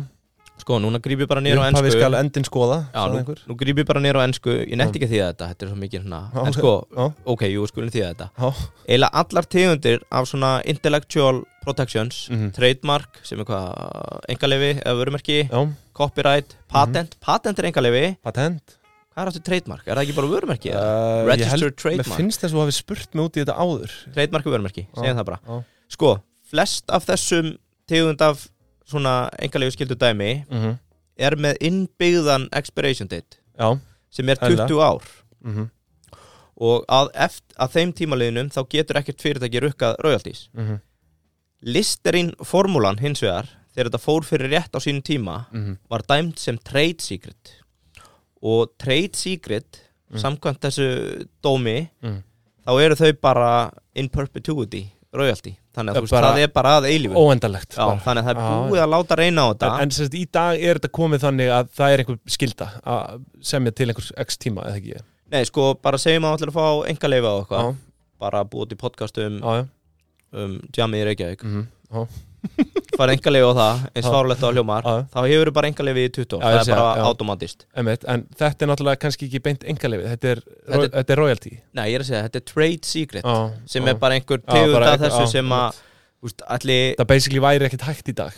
[SPEAKER 1] Sko, núna gríp ég bara
[SPEAKER 2] ég
[SPEAKER 1] nýr á
[SPEAKER 2] hafi
[SPEAKER 1] ennsku
[SPEAKER 2] skal endin skoða
[SPEAKER 1] Já,
[SPEAKER 2] sagði
[SPEAKER 1] nú,
[SPEAKER 2] einhver.
[SPEAKER 1] nú gríp ég bara nýr á ennsku Ég nett ekki því að þetta, þetta er svo mikið hérna
[SPEAKER 2] Já,
[SPEAKER 1] En sko,
[SPEAKER 2] já,
[SPEAKER 1] ok, jú, skulum því að þetta
[SPEAKER 2] já,
[SPEAKER 1] Eila allar tegundir af svona intellectual protections
[SPEAKER 2] Mhm.
[SPEAKER 1] Trademark, sem er hvað Engalefi, eða vörumerki,
[SPEAKER 2] já,
[SPEAKER 1] copyright Patent,
[SPEAKER 2] Mhm.
[SPEAKER 1] patent er engalefi
[SPEAKER 2] patent
[SPEAKER 1] Hvað er aftur trademark? Er það ekki bara vörumerki? eða?
[SPEAKER 2] uh, ég
[SPEAKER 1] Registered
[SPEAKER 2] held-
[SPEAKER 1] trademark.
[SPEAKER 2] Mér finnst þess að þú hafi spurt mig út í þetta áður
[SPEAKER 1] trademark og vörumerki, segjum
[SPEAKER 2] Já,
[SPEAKER 1] það bara
[SPEAKER 2] já.
[SPEAKER 1] sko, flest af þessum tegund af svona engalegu skildu dæmi
[SPEAKER 2] mm -hmm.
[SPEAKER 1] er með innbyggðan expiration date
[SPEAKER 2] Já,
[SPEAKER 1] sem er 20
[SPEAKER 2] Eðlilega.
[SPEAKER 1] ár
[SPEAKER 2] mm -hmm.
[SPEAKER 1] og að, eft, að þeim tímaliðinum þá getur ekkert fyrirtæki rukkað royalties
[SPEAKER 2] Mm -hmm.
[SPEAKER 1] listerinn formúlan hins vegar þegar þetta fór fyrir rétt á sínum tíma
[SPEAKER 2] mhm,
[SPEAKER 1] var dæmt sem trade secret og trade secret
[SPEAKER 2] Mm.
[SPEAKER 1] samkvæmt þessu dómi
[SPEAKER 2] Mm.
[SPEAKER 1] þá eru þau bara in perpetuity royalty þannig að
[SPEAKER 2] Það
[SPEAKER 1] þú veist,
[SPEAKER 2] bara-
[SPEAKER 1] það er bara að eilífu
[SPEAKER 2] Óendalegt
[SPEAKER 1] Já,
[SPEAKER 2] bara.
[SPEAKER 1] þannig að það
[SPEAKER 2] Já,
[SPEAKER 1] er búið að láta reyna á þetta
[SPEAKER 2] En, en sem sagt, í dag er þetta komið þannig að það er einhver skilda að semja til einhvers x tíma eða ekki
[SPEAKER 1] Nei, sko, bara segjum að allir að fá enga leifa og
[SPEAKER 2] Já,
[SPEAKER 1] eitthvað Bara búið til podcast um,
[SPEAKER 2] já, já
[SPEAKER 1] um Jammi í Reykjavík
[SPEAKER 2] Mhm, já.
[SPEAKER 1] Fara enga leifa á það, eins
[SPEAKER 2] Já.
[SPEAKER 1] fárlegt á hljómar
[SPEAKER 2] Já,
[SPEAKER 1] Þá hefur bara enga leifi í 20
[SPEAKER 2] Já,
[SPEAKER 1] Það
[SPEAKER 2] ég
[SPEAKER 1] er
[SPEAKER 2] sé,
[SPEAKER 1] bara
[SPEAKER 2] já.
[SPEAKER 1] automatist
[SPEAKER 2] einmitt, en þetta er náttúrulega kannski ekki beint engalefið, þetta er,
[SPEAKER 1] Þetta er-
[SPEAKER 2] þetta er royalty
[SPEAKER 1] Nei, ég er að segja, þetta er trade secret
[SPEAKER 2] Já,
[SPEAKER 1] Sem
[SPEAKER 2] já.
[SPEAKER 1] er bara einhver
[SPEAKER 2] Já, bara
[SPEAKER 1] tegund af
[SPEAKER 2] einhver-
[SPEAKER 1] þessu
[SPEAKER 2] já,
[SPEAKER 1] sem
[SPEAKER 2] einmitt.
[SPEAKER 1] að Úst, allir
[SPEAKER 2] Það basically væri ekkert hægt í dag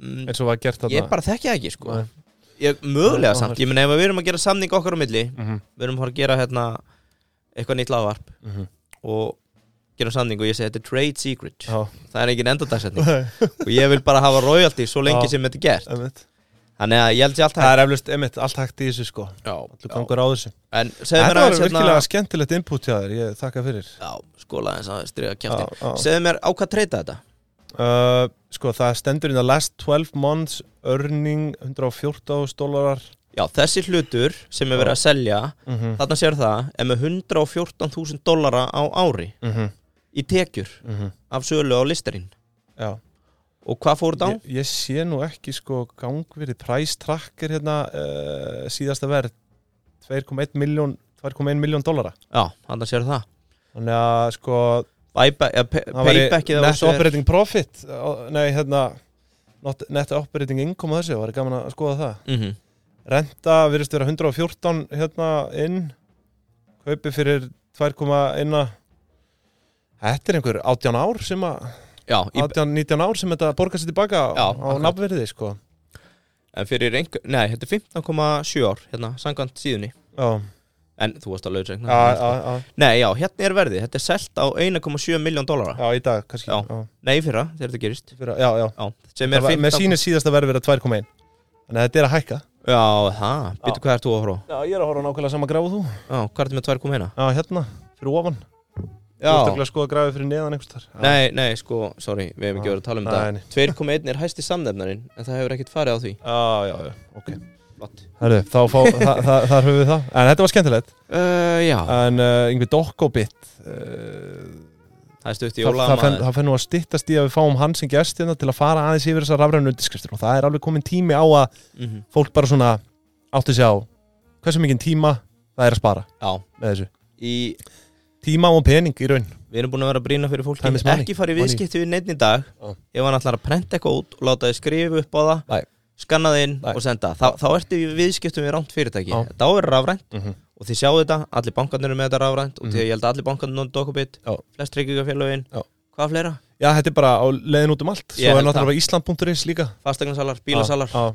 [SPEAKER 1] mm,
[SPEAKER 2] eins og var gert þarna
[SPEAKER 1] Ég bara þekki það ekki, sko
[SPEAKER 2] Nei.
[SPEAKER 1] ég, Mögulega
[SPEAKER 2] Nei,
[SPEAKER 1] samt,
[SPEAKER 2] áhört.
[SPEAKER 1] ég meina ef við erum að gera samning okkar á milli
[SPEAKER 2] Mhm,
[SPEAKER 1] Við erum að fara að gera hérna Eitthvað nýtt lagvarp
[SPEAKER 2] mhm.
[SPEAKER 1] Og gerum samning og ég segi þetta er trade secret
[SPEAKER 2] Já,
[SPEAKER 1] Það er engin endardagsetning og ég vil bara hafa royalty svo lengi
[SPEAKER 2] Já.
[SPEAKER 1] sem þetta er gert
[SPEAKER 2] einmitt
[SPEAKER 1] þannig að ég held sér allt
[SPEAKER 2] Það er eflust, einmitt, allt hægt í þessu sko Þú
[SPEAKER 1] hægt
[SPEAKER 2] gangur á þessu
[SPEAKER 1] en segðu mér
[SPEAKER 2] Þetta var
[SPEAKER 1] aðeins hérna
[SPEAKER 2] virkilega skemmtilegt input hjá þér, ég þakka fyrir
[SPEAKER 1] já, skóla eins aðeins dríða
[SPEAKER 2] Já,
[SPEAKER 1] kjæfti
[SPEAKER 2] já.
[SPEAKER 1] segðu mér á hvað treyta þetta
[SPEAKER 2] Uh, Sko, það stendur in the last 12 months earning 114 dólarar
[SPEAKER 1] já, þessi hlutur sem er verið að selja
[SPEAKER 2] Mhm,
[SPEAKER 1] þarna sér það er með 114.000 dollara á ári
[SPEAKER 2] mhm,
[SPEAKER 1] í tekjur
[SPEAKER 2] mhm.
[SPEAKER 1] af sölu á listerinn
[SPEAKER 2] Já,
[SPEAKER 1] og hvað fór þetta á?
[SPEAKER 2] ég, ég sé nú ekki sko gangverið price tracker hérna uh, síðasta verð 2,1 miljón 2,1 miljón dólara
[SPEAKER 1] já, þannig að sér það
[SPEAKER 2] þannig að sko
[SPEAKER 1] Payback- eða pay-
[SPEAKER 2] það væri
[SPEAKER 1] paybackið á
[SPEAKER 2] net
[SPEAKER 1] þessu er-
[SPEAKER 2] operating profit á- nei hérna not, net operating income á þessu, það væri gaman að skoða það
[SPEAKER 1] Mhm.
[SPEAKER 2] renta virðist vera 114 hérna inn kaupi fyrir 2,1 Þetta er einhver 18 ár sem að
[SPEAKER 1] já, í,
[SPEAKER 2] 18, 19 ár sem þetta borgar sér tilbaka á,
[SPEAKER 1] Já,
[SPEAKER 2] á
[SPEAKER 1] akkurat.
[SPEAKER 2] nafnverði sko
[SPEAKER 1] en fyrir einhver nei, þetta er 15,7 ár hérna, sangant síðunni
[SPEAKER 2] Já,
[SPEAKER 1] en þú varst að lausregna
[SPEAKER 2] já, já, já
[SPEAKER 1] Nei, já, hérna er verðið, þetta er selt á 1,7 miljón dólara
[SPEAKER 2] Já, í dag, kannski
[SPEAKER 1] Já.
[SPEAKER 2] Já,
[SPEAKER 1] Nei, í fyrra, þegar þetta gerist
[SPEAKER 2] Í fyrra, já, já.
[SPEAKER 1] Já, sem
[SPEAKER 2] Það
[SPEAKER 1] er
[SPEAKER 2] var-
[SPEAKER 1] 15
[SPEAKER 2] Með sínu síðasta verði verið 2,1 Þannig að þetta er að hækka
[SPEAKER 1] Já, það, býttu hvað ert þú að horfa á?
[SPEAKER 2] Já, ég er að horfa á nákvæmlega sama gráðu þú
[SPEAKER 1] Já, hvað ertu með 2,1?
[SPEAKER 2] Já, hérna, fyrir ofan Þú ert
[SPEAKER 1] Já,
[SPEAKER 2] örugglega að skoða gráðu fyrir neðan einhvers þar
[SPEAKER 1] nei, nei, sko, sorry, við hefum ekki
[SPEAKER 2] Já.
[SPEAKER 1] verið að tala um
[SPEAKER 2] Nei, nei.
[SPEAKER 1] þetta 2,1 er hæsti samnefnarinn, en það hefur ekkert farið á því
[SPEAKER 2] Já, já, já, ok
[SPEAKER 1] Flott
[SPEAKER 2] Herðu, þá fá, [laughs] þa þa þar höfum við það En þetta var skemmtilegt
[SPEAKER 1] uh, Já,
[SPEAKER 2] En uh, yngvi Dokkóbit uh,
[SPEAKER 1] það er stutt í
[SPEAKER 2] Það, það, fenn-
[SPEAKER 1] jólamaður
[SPEAKER 2] það fenn nú að styttast í að við fáum hann sem gest hérna til að fara aðeins yfir þessar rafrænu undirskriftir og það er alveg komin tími á að
[SPEAKER 1] Mhm.
[SPEAKER 2] fólk bara svona átti sig á hversu mikið tíma það er að spara
[SPEAKER 1] Já,
[SPEAKER 2] með þessu
[SPEAKER 1] í,
[SPEAKER 2] tíma og pening í raun
[SPEAKER 1] við erum búin að vera að brýna fyrir fólki
[SPEAKER 2] Time is money.
[SPEAKER 1] Ekki farið viðskipti við neitt í dag
[SPEAKER 2] Já.
[SPEAKER 1] Ef hann ætlar að prenta eitthvað út og láta þið skrifa upp á það
[SPEAKER 2] Nei.
[SPEAKER 1] Skanna þið inn
[SPEAKER 2] Nei.
[SPEAKER 1] og senda Þá, þá ertu í viðskiptum við rámt fyrirtæki
[SPEAKER 2] Já.
[SPEAKER 1] Þetta á að vera rafrænt
[SPEAKER 2] mm -hmm.
[SPEAKER 1] og þið sjáu þetta, allir bankarnir eru með þetta rafrænt og
[SPEAKER 2] Mhm.
[SPEAKER 1] því að ég held að allir bankarnir nóðu dokubit
[SPEAKER 2] Já.
[SPEAKER 1] flest reykingafélögin,
[SPEAKER 2] Já.
[SPEAKER 1] hvað fleira?
[SPEAKER 2] Já, þetta er bara á leiðin út um allt
[SPEAKER 1] Ég
[SPEAKER 2] Svo er
[SPEAKER 1] held það.
[SPEAKER 2] náttúrulega bara Ísland.is líka
[SPEAKER 1] Fastegnarsalar, bílasalar
[SPEAKER 2] Já, já.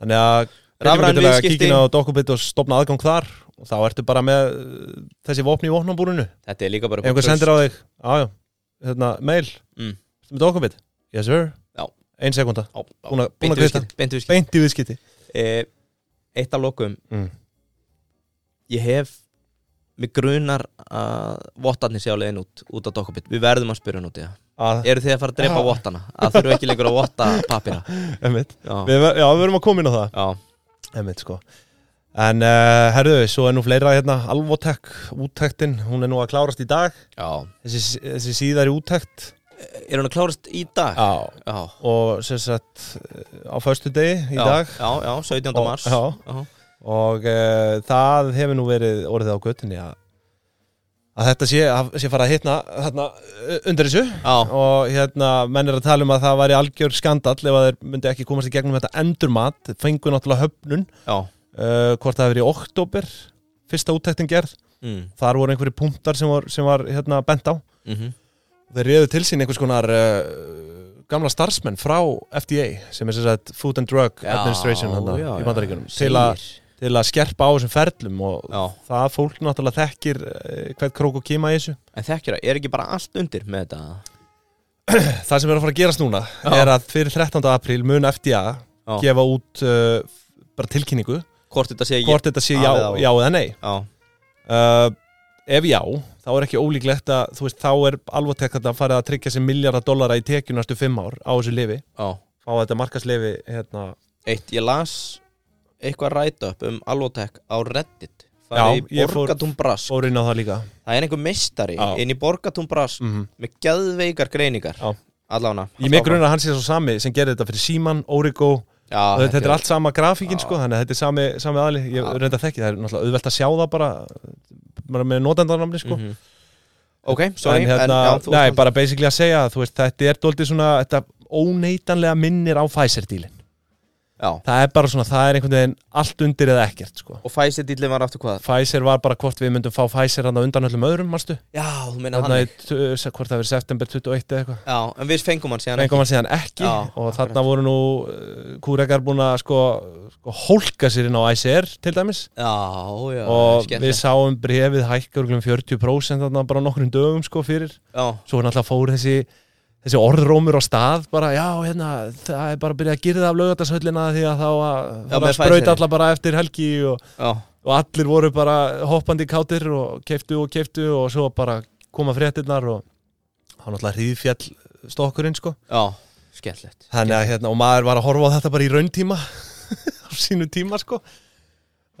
[SPEAKER 2] Þannig að
[SPEAKER 1] Rafræn
[SPEAKER 2] Rafræn viðskipti
[SPEAKER 1] viðskipti.
[SPEAKER 2] Kíkin á Dokkubit og stopna aðgang þar og þá ertu bara með uh, þessi vopni í vopnabúrinu
[SPEAKER 1] þetta er líka bara
[SPEAKER 2] Einhver sendir á þig Já, já, hérna, mail
[SPEAKER 1] Mm.
[SPEAKER 2] Ertu með Dokkubit Yes sir
[SPEAKER 1] Já.
[SPEAKER 2] ein sekunda,
[SPEAKER 1] á, á,
[SPEAKER 2] Búin að- búin að
[SPEAKER 1] beintu
[SPEAKER 2] greiða.
[SPEAKER 1] viðskipti, beintu viðskipti.
[SPEAKER 2] beint í viðskiti
[SPEAKER 1] Eh, Eitt að lokum
[SPEAKER 2] mm.
[SPEAKER 1] ég hef mig grunar að vottarnir sé á leiðin út út á dokkabit, við verðum að spyrja hann út í það
[SPEAKER 2] að,
[SPEAKER 1] eru þið að fara að drepa
[SPEAKER 2] Já.
[SPEAKER 1] vottana að þurfum ekki lengur að votta pappina
[SPEAKER 2] einmitt.
[SPEAKER 1] já,
[SPEAKER 2] Við, ver- já, við verum að koma inn á það
[SPEAKER 1] já,
[SPEAKER 2] Einmitt, sko. En uh, herðu, svo er nú fleira hérna Alvotek, úttektin, hún er nú að klárast í dag
[SPEAKER 1] já
[SPEAKER 2] Þessi, þessi síðari úttekt
[SPEAKER 1] er hann að klárast í dag?
[SPEAKER 2] Já
[SPEAKER 1] já,
[SPEAKER 2] Og sem sagt eh, á föstu degi í
[SPEAKER 1] já,
[SPEAKER 2] dag
[SPEAKER 1] já, já 17.
[SPEAKER 2] Og-
[SPEAKER 1] mars
[SPEAKER 2] já.
[SPEAKER 1] já,
[SPEAKER 2] Og uh, það hefur nú verið orðið á göttinni að að þetta sé, að, sé fara að hitna þarna, eh, undir þessu
[SPEAKER 1] já,
[SPEAKER 2] og hérna, menn er að tala um að það væri algjör skandall ef að þeir myndi ekki komast í gegnum þetta endurmat, fengu náttúrulega höfnun
[SPEAKER 1] já.
[SPEAKER 2] uh, hvort það hefur í oktober fyrsta úttektin gerð
[SPEAKER 1] Mm.
[SPEAKER 2] þar voru einhverju punktar sem var, sem var hérna, bent á
[SPEAKER 1] Mm
[SPEAKER 2] þeir reyðu til sín einhvers konar uh, gamla starfsmenn frá FDA sem er sem sagt Food and Drug Administration hana, í bandaríkjunum til, að- til að skerpa á þessum ferlum og
[SPEAKER 1] Já.
[SPEAKER 2] það fólk náttúrulega þekkir uh, hvert krók og kima í þessu
[SPEAKER 1] en þekkjur að, er ekki bara allt undir með þetta?
[SPEAKER 2] það sem er að fara að gerast núna
[SPEAKER 1] Já.
[SPEAKER 2] er að fyrir 13. apríl mun FDA
[SPEAKER 1] Já.
[SPEAKER 2] gefa út uh, bara tilkynningu
[SPEAKER 1] hvort þetta sé ég
[SPEAKER 2] hvort þetta sé
[SPEAKER 1] Já,
[SPEAKER 2] já,
[SPEAKER 1] eða á.
[SPEAKER 2] já eða nei
[SPEAKER 1] já,
[SPEAKER 2] uh, ef já, þá er ekki ólíklegt að þú veist, þá er alveg tekkt að fara að tryggja sér miljardar dollara í tekju næstu fimm ár á þessu lifi,
[SPEAKER 1] já
[SPEAKER 2] á þetta markaslifi hérna,
[SPEAKER 1] Eitt, ég las eitthvað rætöp um Alvotech á Reddit
[SPEAKER 2] Já,
[SPEAKER 1] Það er í
[SPEAKER 2] ég fór-
[SPEAKER 1] Borgatún Brask
[SPEAKER 2] fór inn á það líka
[SPEAKER 1] Það er einhver meistari
[SPEAKER 2] Já.
[SPEAKER 1] inn í Borgatún Brask
[SPEAKER 2] mm -hmm.
[SPEAKER 1] með geðveikar greiningar
[SPEAKER 2] Já.
[SPEAKER 1] Allána
[SPEAKER 2] ég mig grunna að hann sé svo sami sem gerði þetta fyrir Síman, Origo
[SPEAKER 1] Ah,
[SPEAKER 2] og þetta, er allt sama grafíkin
[SPEAKER 1] Já.
[SPEAKER 2] sko, þannig að þetta er sami, sami aðli ég
[SPEAKER 1] Já.
[SPEAKER 2] reynda að þekki, það er náttúrulega auðvelt að sjá það bara bara með notendarnamni sko
[SPEAKER 1] Mhm. Ok, sorry
[SPEAKER 2] en hérna,
[SPEAKER 1] já, þú-
[SPEAKER 2] nei, bara basically að segja þú veist, þetta er doldið svona þetta óneitanlega minnir á Pfizer-dílin
[SPEAKER 1] já.
[SPEAKER 2] það er bara svona, það er einhvern veginn allt undir eða ekkert sko.
[SPEAKER 1] Og Pfizer dýllin var aftur hvað?
[SPEAKER 2] Pfizer var bara hvort við myndum fá Pfizer hann undan öllum öðrum, marstu
[SPEAKER 1] Já, þú meina hann
[SPEAKER 2] þarna í, t- uh, hvort það verið september 21 eða eitthvað
[SPEAKER 1] Já, en við fengum hann síðan
[SPEAKER 2] en kom hann síðan ekki
[SPEAKER 1] Já,
[SPEAKER 2] og
[SPEAKER 1] akkurat.
[SPEAKER 2] þarna voru nú uh, kúrekar búin að sko, sko hólka sér inn á ICR til dæmis
[SPEAKER 1] Já, já,
[SPEAKER 2] og við
[SPEAKER 1] skemmtilegt.
[SPEAKER 2] sáum brefið hækka örglum 40% þarna bara á nokkrum dögum sko fyrir
[SPEAKER 1] Já,
[SPEAKER 2] svo hann alltaf fór þessi þessi orðrómur á stað bara já hérna það er bara að byrja að gyrða af lögatarsöllina því að þá að,
[SPEAKER 1] Já,
[SPEAKER 2] að,
[SPEAKER 1] með
[SPEAKER 2] að sprauta
[SPEAKER 1] Pfizer.
[SPEAKER 2] alla bara eftir helgi og
[SPEAKER 1] já,
[SPEAKER 2] og allir voru bara hoppandi í kátir og keiftu og keiftu og svo bara koma fréttirnar og hann alltaf hríðfjall stokkurinn sko
[SPEAKER 1] já, skemmtilegt
[SPEAKER 2] Þannig að, hérna, og maður var að horfa á þetta bara í rauntíma [laughs] á sínu tíma sko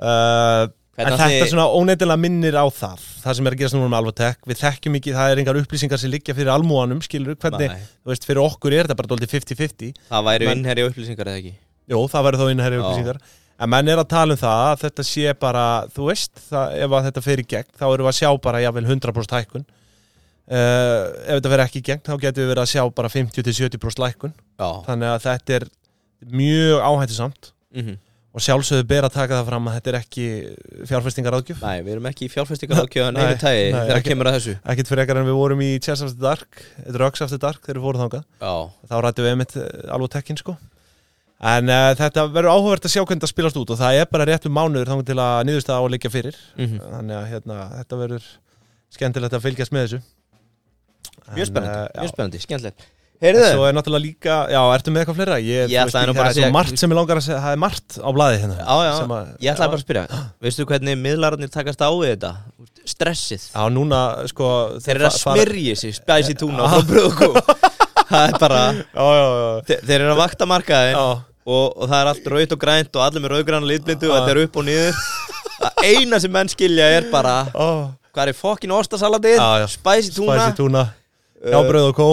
[SPEAKER 2] uh, en
[SPEAKER 1] Hvernig
[SPEAKER 2] þetta
[SPEAKER 1] ætli-
[SPEAKER 2] svona óneitilega minnir á það það sem er að gerast núna með Alvatek við þekkjum ekki, það er engar upplýsingar sem liggja fyrir almúanum skilur, hvernig,
[SPEAKER 1] Nei,
[SPEAKER 2] þú veist, fyrir okkur er þetta bara dóldi 50-50
[SPEAKER 1] Það væri
[SPEAKER 2] Men-
[SPEAKER 1] vinnherri upplýsingar eða ekki
[SPEAKER 2] Jó, það verður þá innherri
[SPEAKER 1] Já.
[SPEAKER 2] upplýsingar En menn er að tala um það að þetta sé bara þú veist, það, ef að þetta fer í gegn þá erum við að sjá bara jafnvel 100% hækkun uh, ef þetta fer ekki í gegn þá getum við verið að sjá bara 50-70% lækkun
[SPEAKER 1] Já,
[SPEAKER 2] þannig að þetta er mjög áhættisamt
[SPEAKER 1] mhm
[SPEAKER 2] og sjálfsögðu ber að taka það fram að þetta er ekki fjárfestingar áðgjöf
[SPEAKER 1] Nei, við erum ekki í fjárfestingaráðgjöðan
[SPEAKER 2] Nei,
[SPEAKER 1] einu tægi
[SPEAKER 2] nei,
[SPEAKER 1] þegar
[SPEAKER 2] ekki-
[SPEAKER 1] kemur að þessu
[SPEAKER 2] ekkit fyrir ekkar en við vorum í Chess After Dark Drugs After Dark þegar við fórum þangað
[SPEAKER 1] Já,
[SPEAKER 2] þá rættum við einmitt eh, alveg tekkin sko en uh, þetta verður áhugavert að sjá hvernig það spilast út og það er bara réttum mánuður þannig til að niðurstaða á að liggja fyrir
[SPEAKER 1] mhm,
[SPEAKER 2] þannig að hérna, þetta verður skemmtilegt að fylgjast með þessu En,
[SPEAKER 1] mjög spennandi,
[SPEAKER 2] eh,
[SPEAKER 1] mjög
[SPEAKER 2] já.
[SPEAKER 1] spennandi, skemmtilegt
[SPEAKER 2] En
[SPEAKER 1] Heyrðu,
[SPEAKER 2] Svo er náttúrulega líka, já, ertu með eitthvað fleira? Ég,
[SPEAKER 1] Ég
[SPEAKER 2] þú
[SPEAKER 1] ætlaði nú
[SPEAKER 2] ekki,
[SPEAKER 1] bara
[SPEAKER 2] það
[SPEAKER 1] að
[SPEAKER 2] er svo
[SPEAKER 1] segja-
[SPEAKER 2] margt sem ég langar að segja, það er margt á blaði hérna
[SPEAKER 1] Já, já,
[SPEAKER 2] sem að-
[SPEAKER 1] ég ætlaði
[SPEAKER 2] já.
[SPEAKER 1] bara að spyrja Veistu hvernig miðlararnir takast á við þetta? Stressið
[SPEAKER 2] Já, núna, sko
[SPEAKER 1] Þeir eru að
[SPEAKER 2] fa- fara-
[SPEAKER 1] smyrja sig, spæsi túna frá
[SPEAKER 2] [laughs]
[SPEAKER 1] bröðkum Það er bara
[SPEAKER 2] Já, já, já,
[SPEAKER 1] Þe- Þeir eru að vakta markaðin
[SPEAKER 2] já.
[SPEAKER 1] og, og það er allt raut og grænt og allir með rauðgrann litblindu og
[SPEAKER 2] Já.
[SPEAKER 1] þetta er upp og
[SPEAKER 2] [laughs]
[SPEAKER 1] niður Það eina sem menn skilja er bara
[SPEAKER 2] Ó,
[SPEAKER 1] Hvað er fokkin ostasalatið,
[SPEAKER 2] Já, já.
[SPEAKER 1] spæsi túna
[SPEAKER 2] Spæsi túna,
[SPEAKER 1] eh,
[SPEAKER 2] hjábröð og kó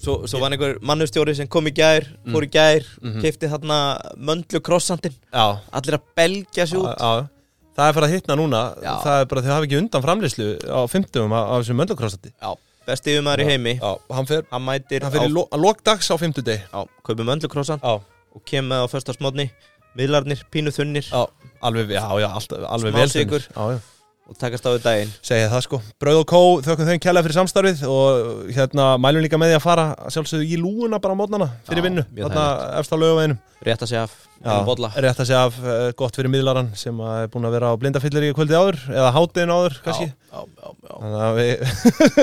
[SPEAKER 1] Svo, svo var einhver mannustjóri sem kom í gær, fór í gær, mm
[SPEAKER 2] Mhm.
[SPEAKER 1] keipti þarna möndlu krossandinn,
[SPEAKER 2] Já,
[SPEAKER 1] allir að belgja sig út.
[SPEAKER 2] Já, já. Það er farið að hittna núna
[SPEAKER 1] Já.
[SPEAKER 2] Það er bara að þau hafa ekki undan framlýslu á fimmtugum á, á þessu möndlokrossandi
[SPEAKER 1] Já, besti yfirmaður í heimi,
[SPEAKER 2] Já, hann fer,
[SPEAKER 1] hann mætir
[SPEAKER 2] hann fer í
[SPEAKER 1] á,
[SPEAKER 2] lo, að lokdags á fimmtudeg
[SPEAKER 1] á kaupið möndlu krossand
[SPEAKER 2] Já,
[SPEAKER 1] og kemur með á föstasmótni, miðlarnir, pínu þunnir
[SPEAKER 2] já, alveg, já, já, alltaf, alveg
[SPEAKER 1] Smá
[SPEAKER 2] vel
[SPEAKER 1] sykur.
[SPEAKER 2] fyrir. Já, já,
[SPEAKER 1] og takast á við daginn.
[SPEAKER 2] segja það sko Brauð og kó, þökkum þeim kjælega fyrir samstarfið og hérna, mælum líka með því að fara að sjálfsögðu í lúuna bara á mótnana fyrir
[SPEAKER 1] Já,
[SPEAKER 2] vinnu
[SPEAKER 1] mjög
[SPEAKER 2] Þarna efst á laugaveginum
[SPEAKER 1] Rétt að segja af, um bolla.
[SPEAKER 2] rétt að segja af eh, gott fyrir miðlaran sem að er búin að vera á blindafyllir í kvöldi áður eða háttegin áður, kannski
[SPEAKER 1] Já, já, já, já.
[SPEAKER 2] [laughs] Þannig að við,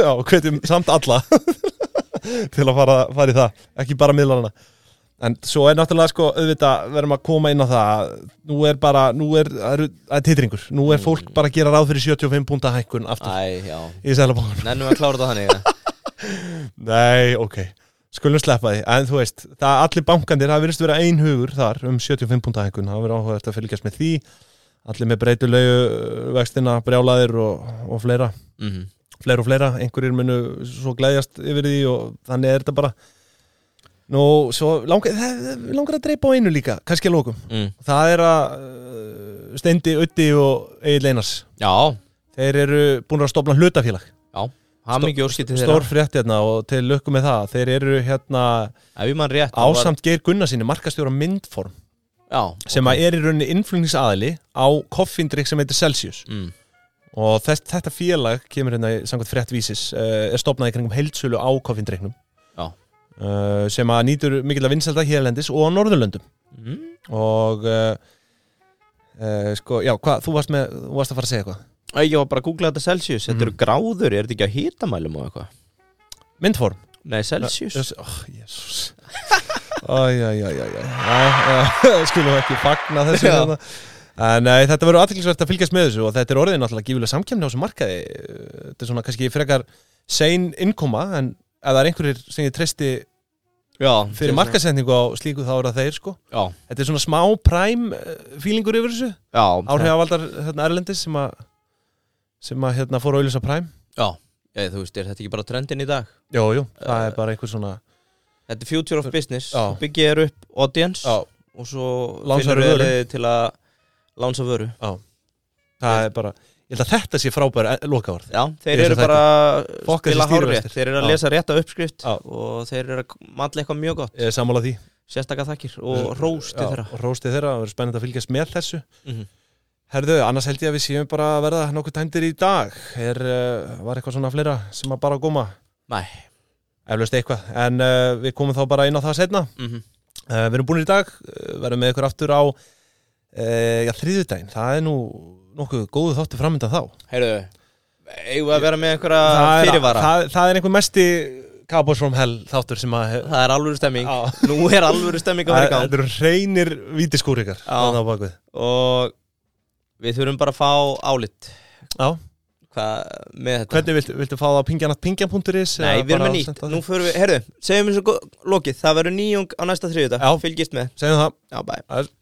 [SPEAKER 2] já, hvetjum samt alla [laughs] til að fara, fara í það, ekki bara miðlarana en svo er náttúrulega sko auðvitað verðum að koma inn á það að nú er bara, nú er, það eru- það er titringur nú er fólk bara að gera ráð fyrir 75 púnta hækkun aftur
[SPEAKER 1] Æ, já
[SPEAKER 2] í selabangun
[SPEAKER 1] Nennum að klára þetta þannig
[SPEAKER 2] [laughs]
[SPEAKER 1] eða?
[SPEAKER 2] nei, ok, skulum sleppa því en þú veist, það allir bankandir það virðist vera einhugur þar um 75 púnta hækkun það verður áhugavert að fylgjast með því allir með breytulegu vextina brjálaðir og, og fleira
[SPEAKER 1] Mhm.
[SPEAKER 2] fleira og fleira, einhverjir munu svo gleðjast yfir því og þannig er þetta bara Nú, svo langar, það, það- langar að dreipa á einu líka, kannski að lókum
[SPEAKER 1] mm.
[SPEAKER 2] Það er að uh, Steindi, Uddi og Egil Einars
[SPEAKER 1] Já,
[SPEAKER 2] Þeir eru búin að stofna hlutafélag
[SPEAKER 1] já Hamingi úrskipti þeirra
[SPEAKER 2] Stór frétt hérna og til lukku með það Þeir eru hérna
[SPEAKER 1] Ef ég mann rétt þá var-
[SPEAKER 2] ásamt Geir Gunnarsinni, markastjóra myndform
[SPEAKER 1] Já
[SPEAKER 2] sem að er í rauninni innflugningsaðali á koffindrykk sem heitir Celsius
[SPEAKER 1] mm.
[SPEAKER 2] og þess, þetta félag kemur hérna í samkvæmt fréttvísis uh, er stopnað í kringum heildsölu á koffindreiknum
[SPEAKER 1] Já.
[SPEAKER 2] uh, sem að nýtur mikill að vinsalda hérlendis og á Norðurlöndum
[SPEAKER 1] Mm.
[SPEAKER 2] og uh, uh, sko, já, hvað, þú varst með þú varst að fara að segja eitthvað
[SPEAKER 1] Æ, Ég var bara að googla þetta Celsius Þetta
[SPEAKER 2] Mhm.
[SPEAKER 1] eru gráður, er þetta ekki að hitamælum og eitthvað
[SPEAKER 2] myndform
[SPEAKER 1] Nei, Celsius
[SPEAKER 2] Jés- oh, jésús Oh, æjæjæjæjæ [laughs] skulum ekki fagna þessu
[SPEAKER 1] Já.
[SPEAKER 2] hérna. en nei, þetta verður aðtilsvært að fylgjast með þessu og þetta er orðið náttúrulega gífulega samkemni á þessu markaði Eh, þetta er svona kannski frekar sein innkoma en ef það er einhverjir sem ég treysti
[SPEAKER 1] Já
[SPEAKER 2] fyrir markasendingu á slíku þá er það þeir sko
[SPEAKER 1] Já,
[SPEAKER 2] þetta er svona smá prime eh, feelingur yfir þessu
[SPEAKER 1] já
[SPEAKER 2] áhrifavaldar hérna, Erlendis sem að sem að hérna fór að auðvisa prime
[SPEAKER 1] Já, ég, þú veist, er þetta ekki bara trendin í dag?
[SPEAKER 2] jú, jú, það
[SPEAKER 1] Eh,
[SPEAKER 2] er bara einhver svona
[SPEAKER 1] Þetta er future of business
[SPEAKER 2] Já.
[SPEAKER 1] Þú byggir þér upp audience
[SPEAKER 2] já,
[SPEAKER 1] og svo finnur
[SPEAKER 2] Lánsar vöru.
[SPEAKER 1] þér leið til að lánsa vöru
[SPEAKER 2] það er bara ég held að þetta sé frábær e- lokaorð
[SPEAKER 1] Já, þeir
[SPEAKER 2] Ég
[SPEAKER 1] eru
[SPEAKER 2] þekki.
[SPEAKER 1] bara að
[SPEAKER 2] Fokka
[SPEAKER 1] spila
[SPEAKER 2] þessi
[SPEAKER 1] hárrétt
[SPEAKER 2] stýrivextir.
[SPEAKER 1] Þeir eru að
[SPEAKER 2] Já.
[SPEAKER 1] lesa rétta uppskrift
[SPEAKER 2] Já.
[SPEAKER 1] og þeir eru að matla eitthvað mjög gott
[SPEAKER 2] ég er sammála því
[SPEAKER 1] Sérstakar þakkir og rós til
[SPEAKER 2] Já,
[SPEAKER 1] þeirra
[SPEAKER 2] og róstið þeirra, það verður spennandi að fylgjast með þessu
[SPEAKER 1] Mhm.
[SPEAKER 2] herðu, annars held ég að við séum bara að verða nokkuð tæmdir í dag er, uh, var eitthvað svona fleira sem að bara að góma
[SPEAKER 1] Nei
[SPEAKER 2] eflaust eitthvað, en uh, við komum þá bara inn á það setna
[SPEAKER 1] mhm.
[SPEAKER 2] Uh, við erum búin í dag, uh, verðum með ykkur aftur á uh, já, þriðudaginn, það er nú nokkuð góðu þáttu framöndan þá
[SPEAKER 1] Heyrðu, eigum við að vera með einhverja
[SPEAKER 2] það, er,
[SPEAKER 1] fyrirvara
[SPEAKER 2] það, það er einhver mesti Cowboys from Hell þáttur sem að hef-
[SPEAKER 1] Það er alvöru stemming
[SPEAKER 2] Já.
[SPEAKER 1] Nú er alvöru stemming að
[SPEAKER 2] það
[SPEAKER 1] vera í gang
[SPEAKER 2] það eru reynir vítiskúrikar
[SPEAKER 1] Já. og við þurfum bara að fá álit
[SPEAKER 2] Já.
[SPEAKER 1] Hvað með þetta?
[SPEAKER 2] Hvernig viltu, viltu fá það á pingjanatpingjan.is
[SPEAKER 1] Nei, við erum með nýtt Nú förum við, heyrðu, segjum við svo go- lokið Það verður nýjung á næsta þriðjudag
[SPEAKER 2] Já.
[SPEAKER 1] Fylgist með
[SPEAKER 2] Segjum það
[SPEAKER 1] Já, bæ
[SPEAKER 2] Aðeins.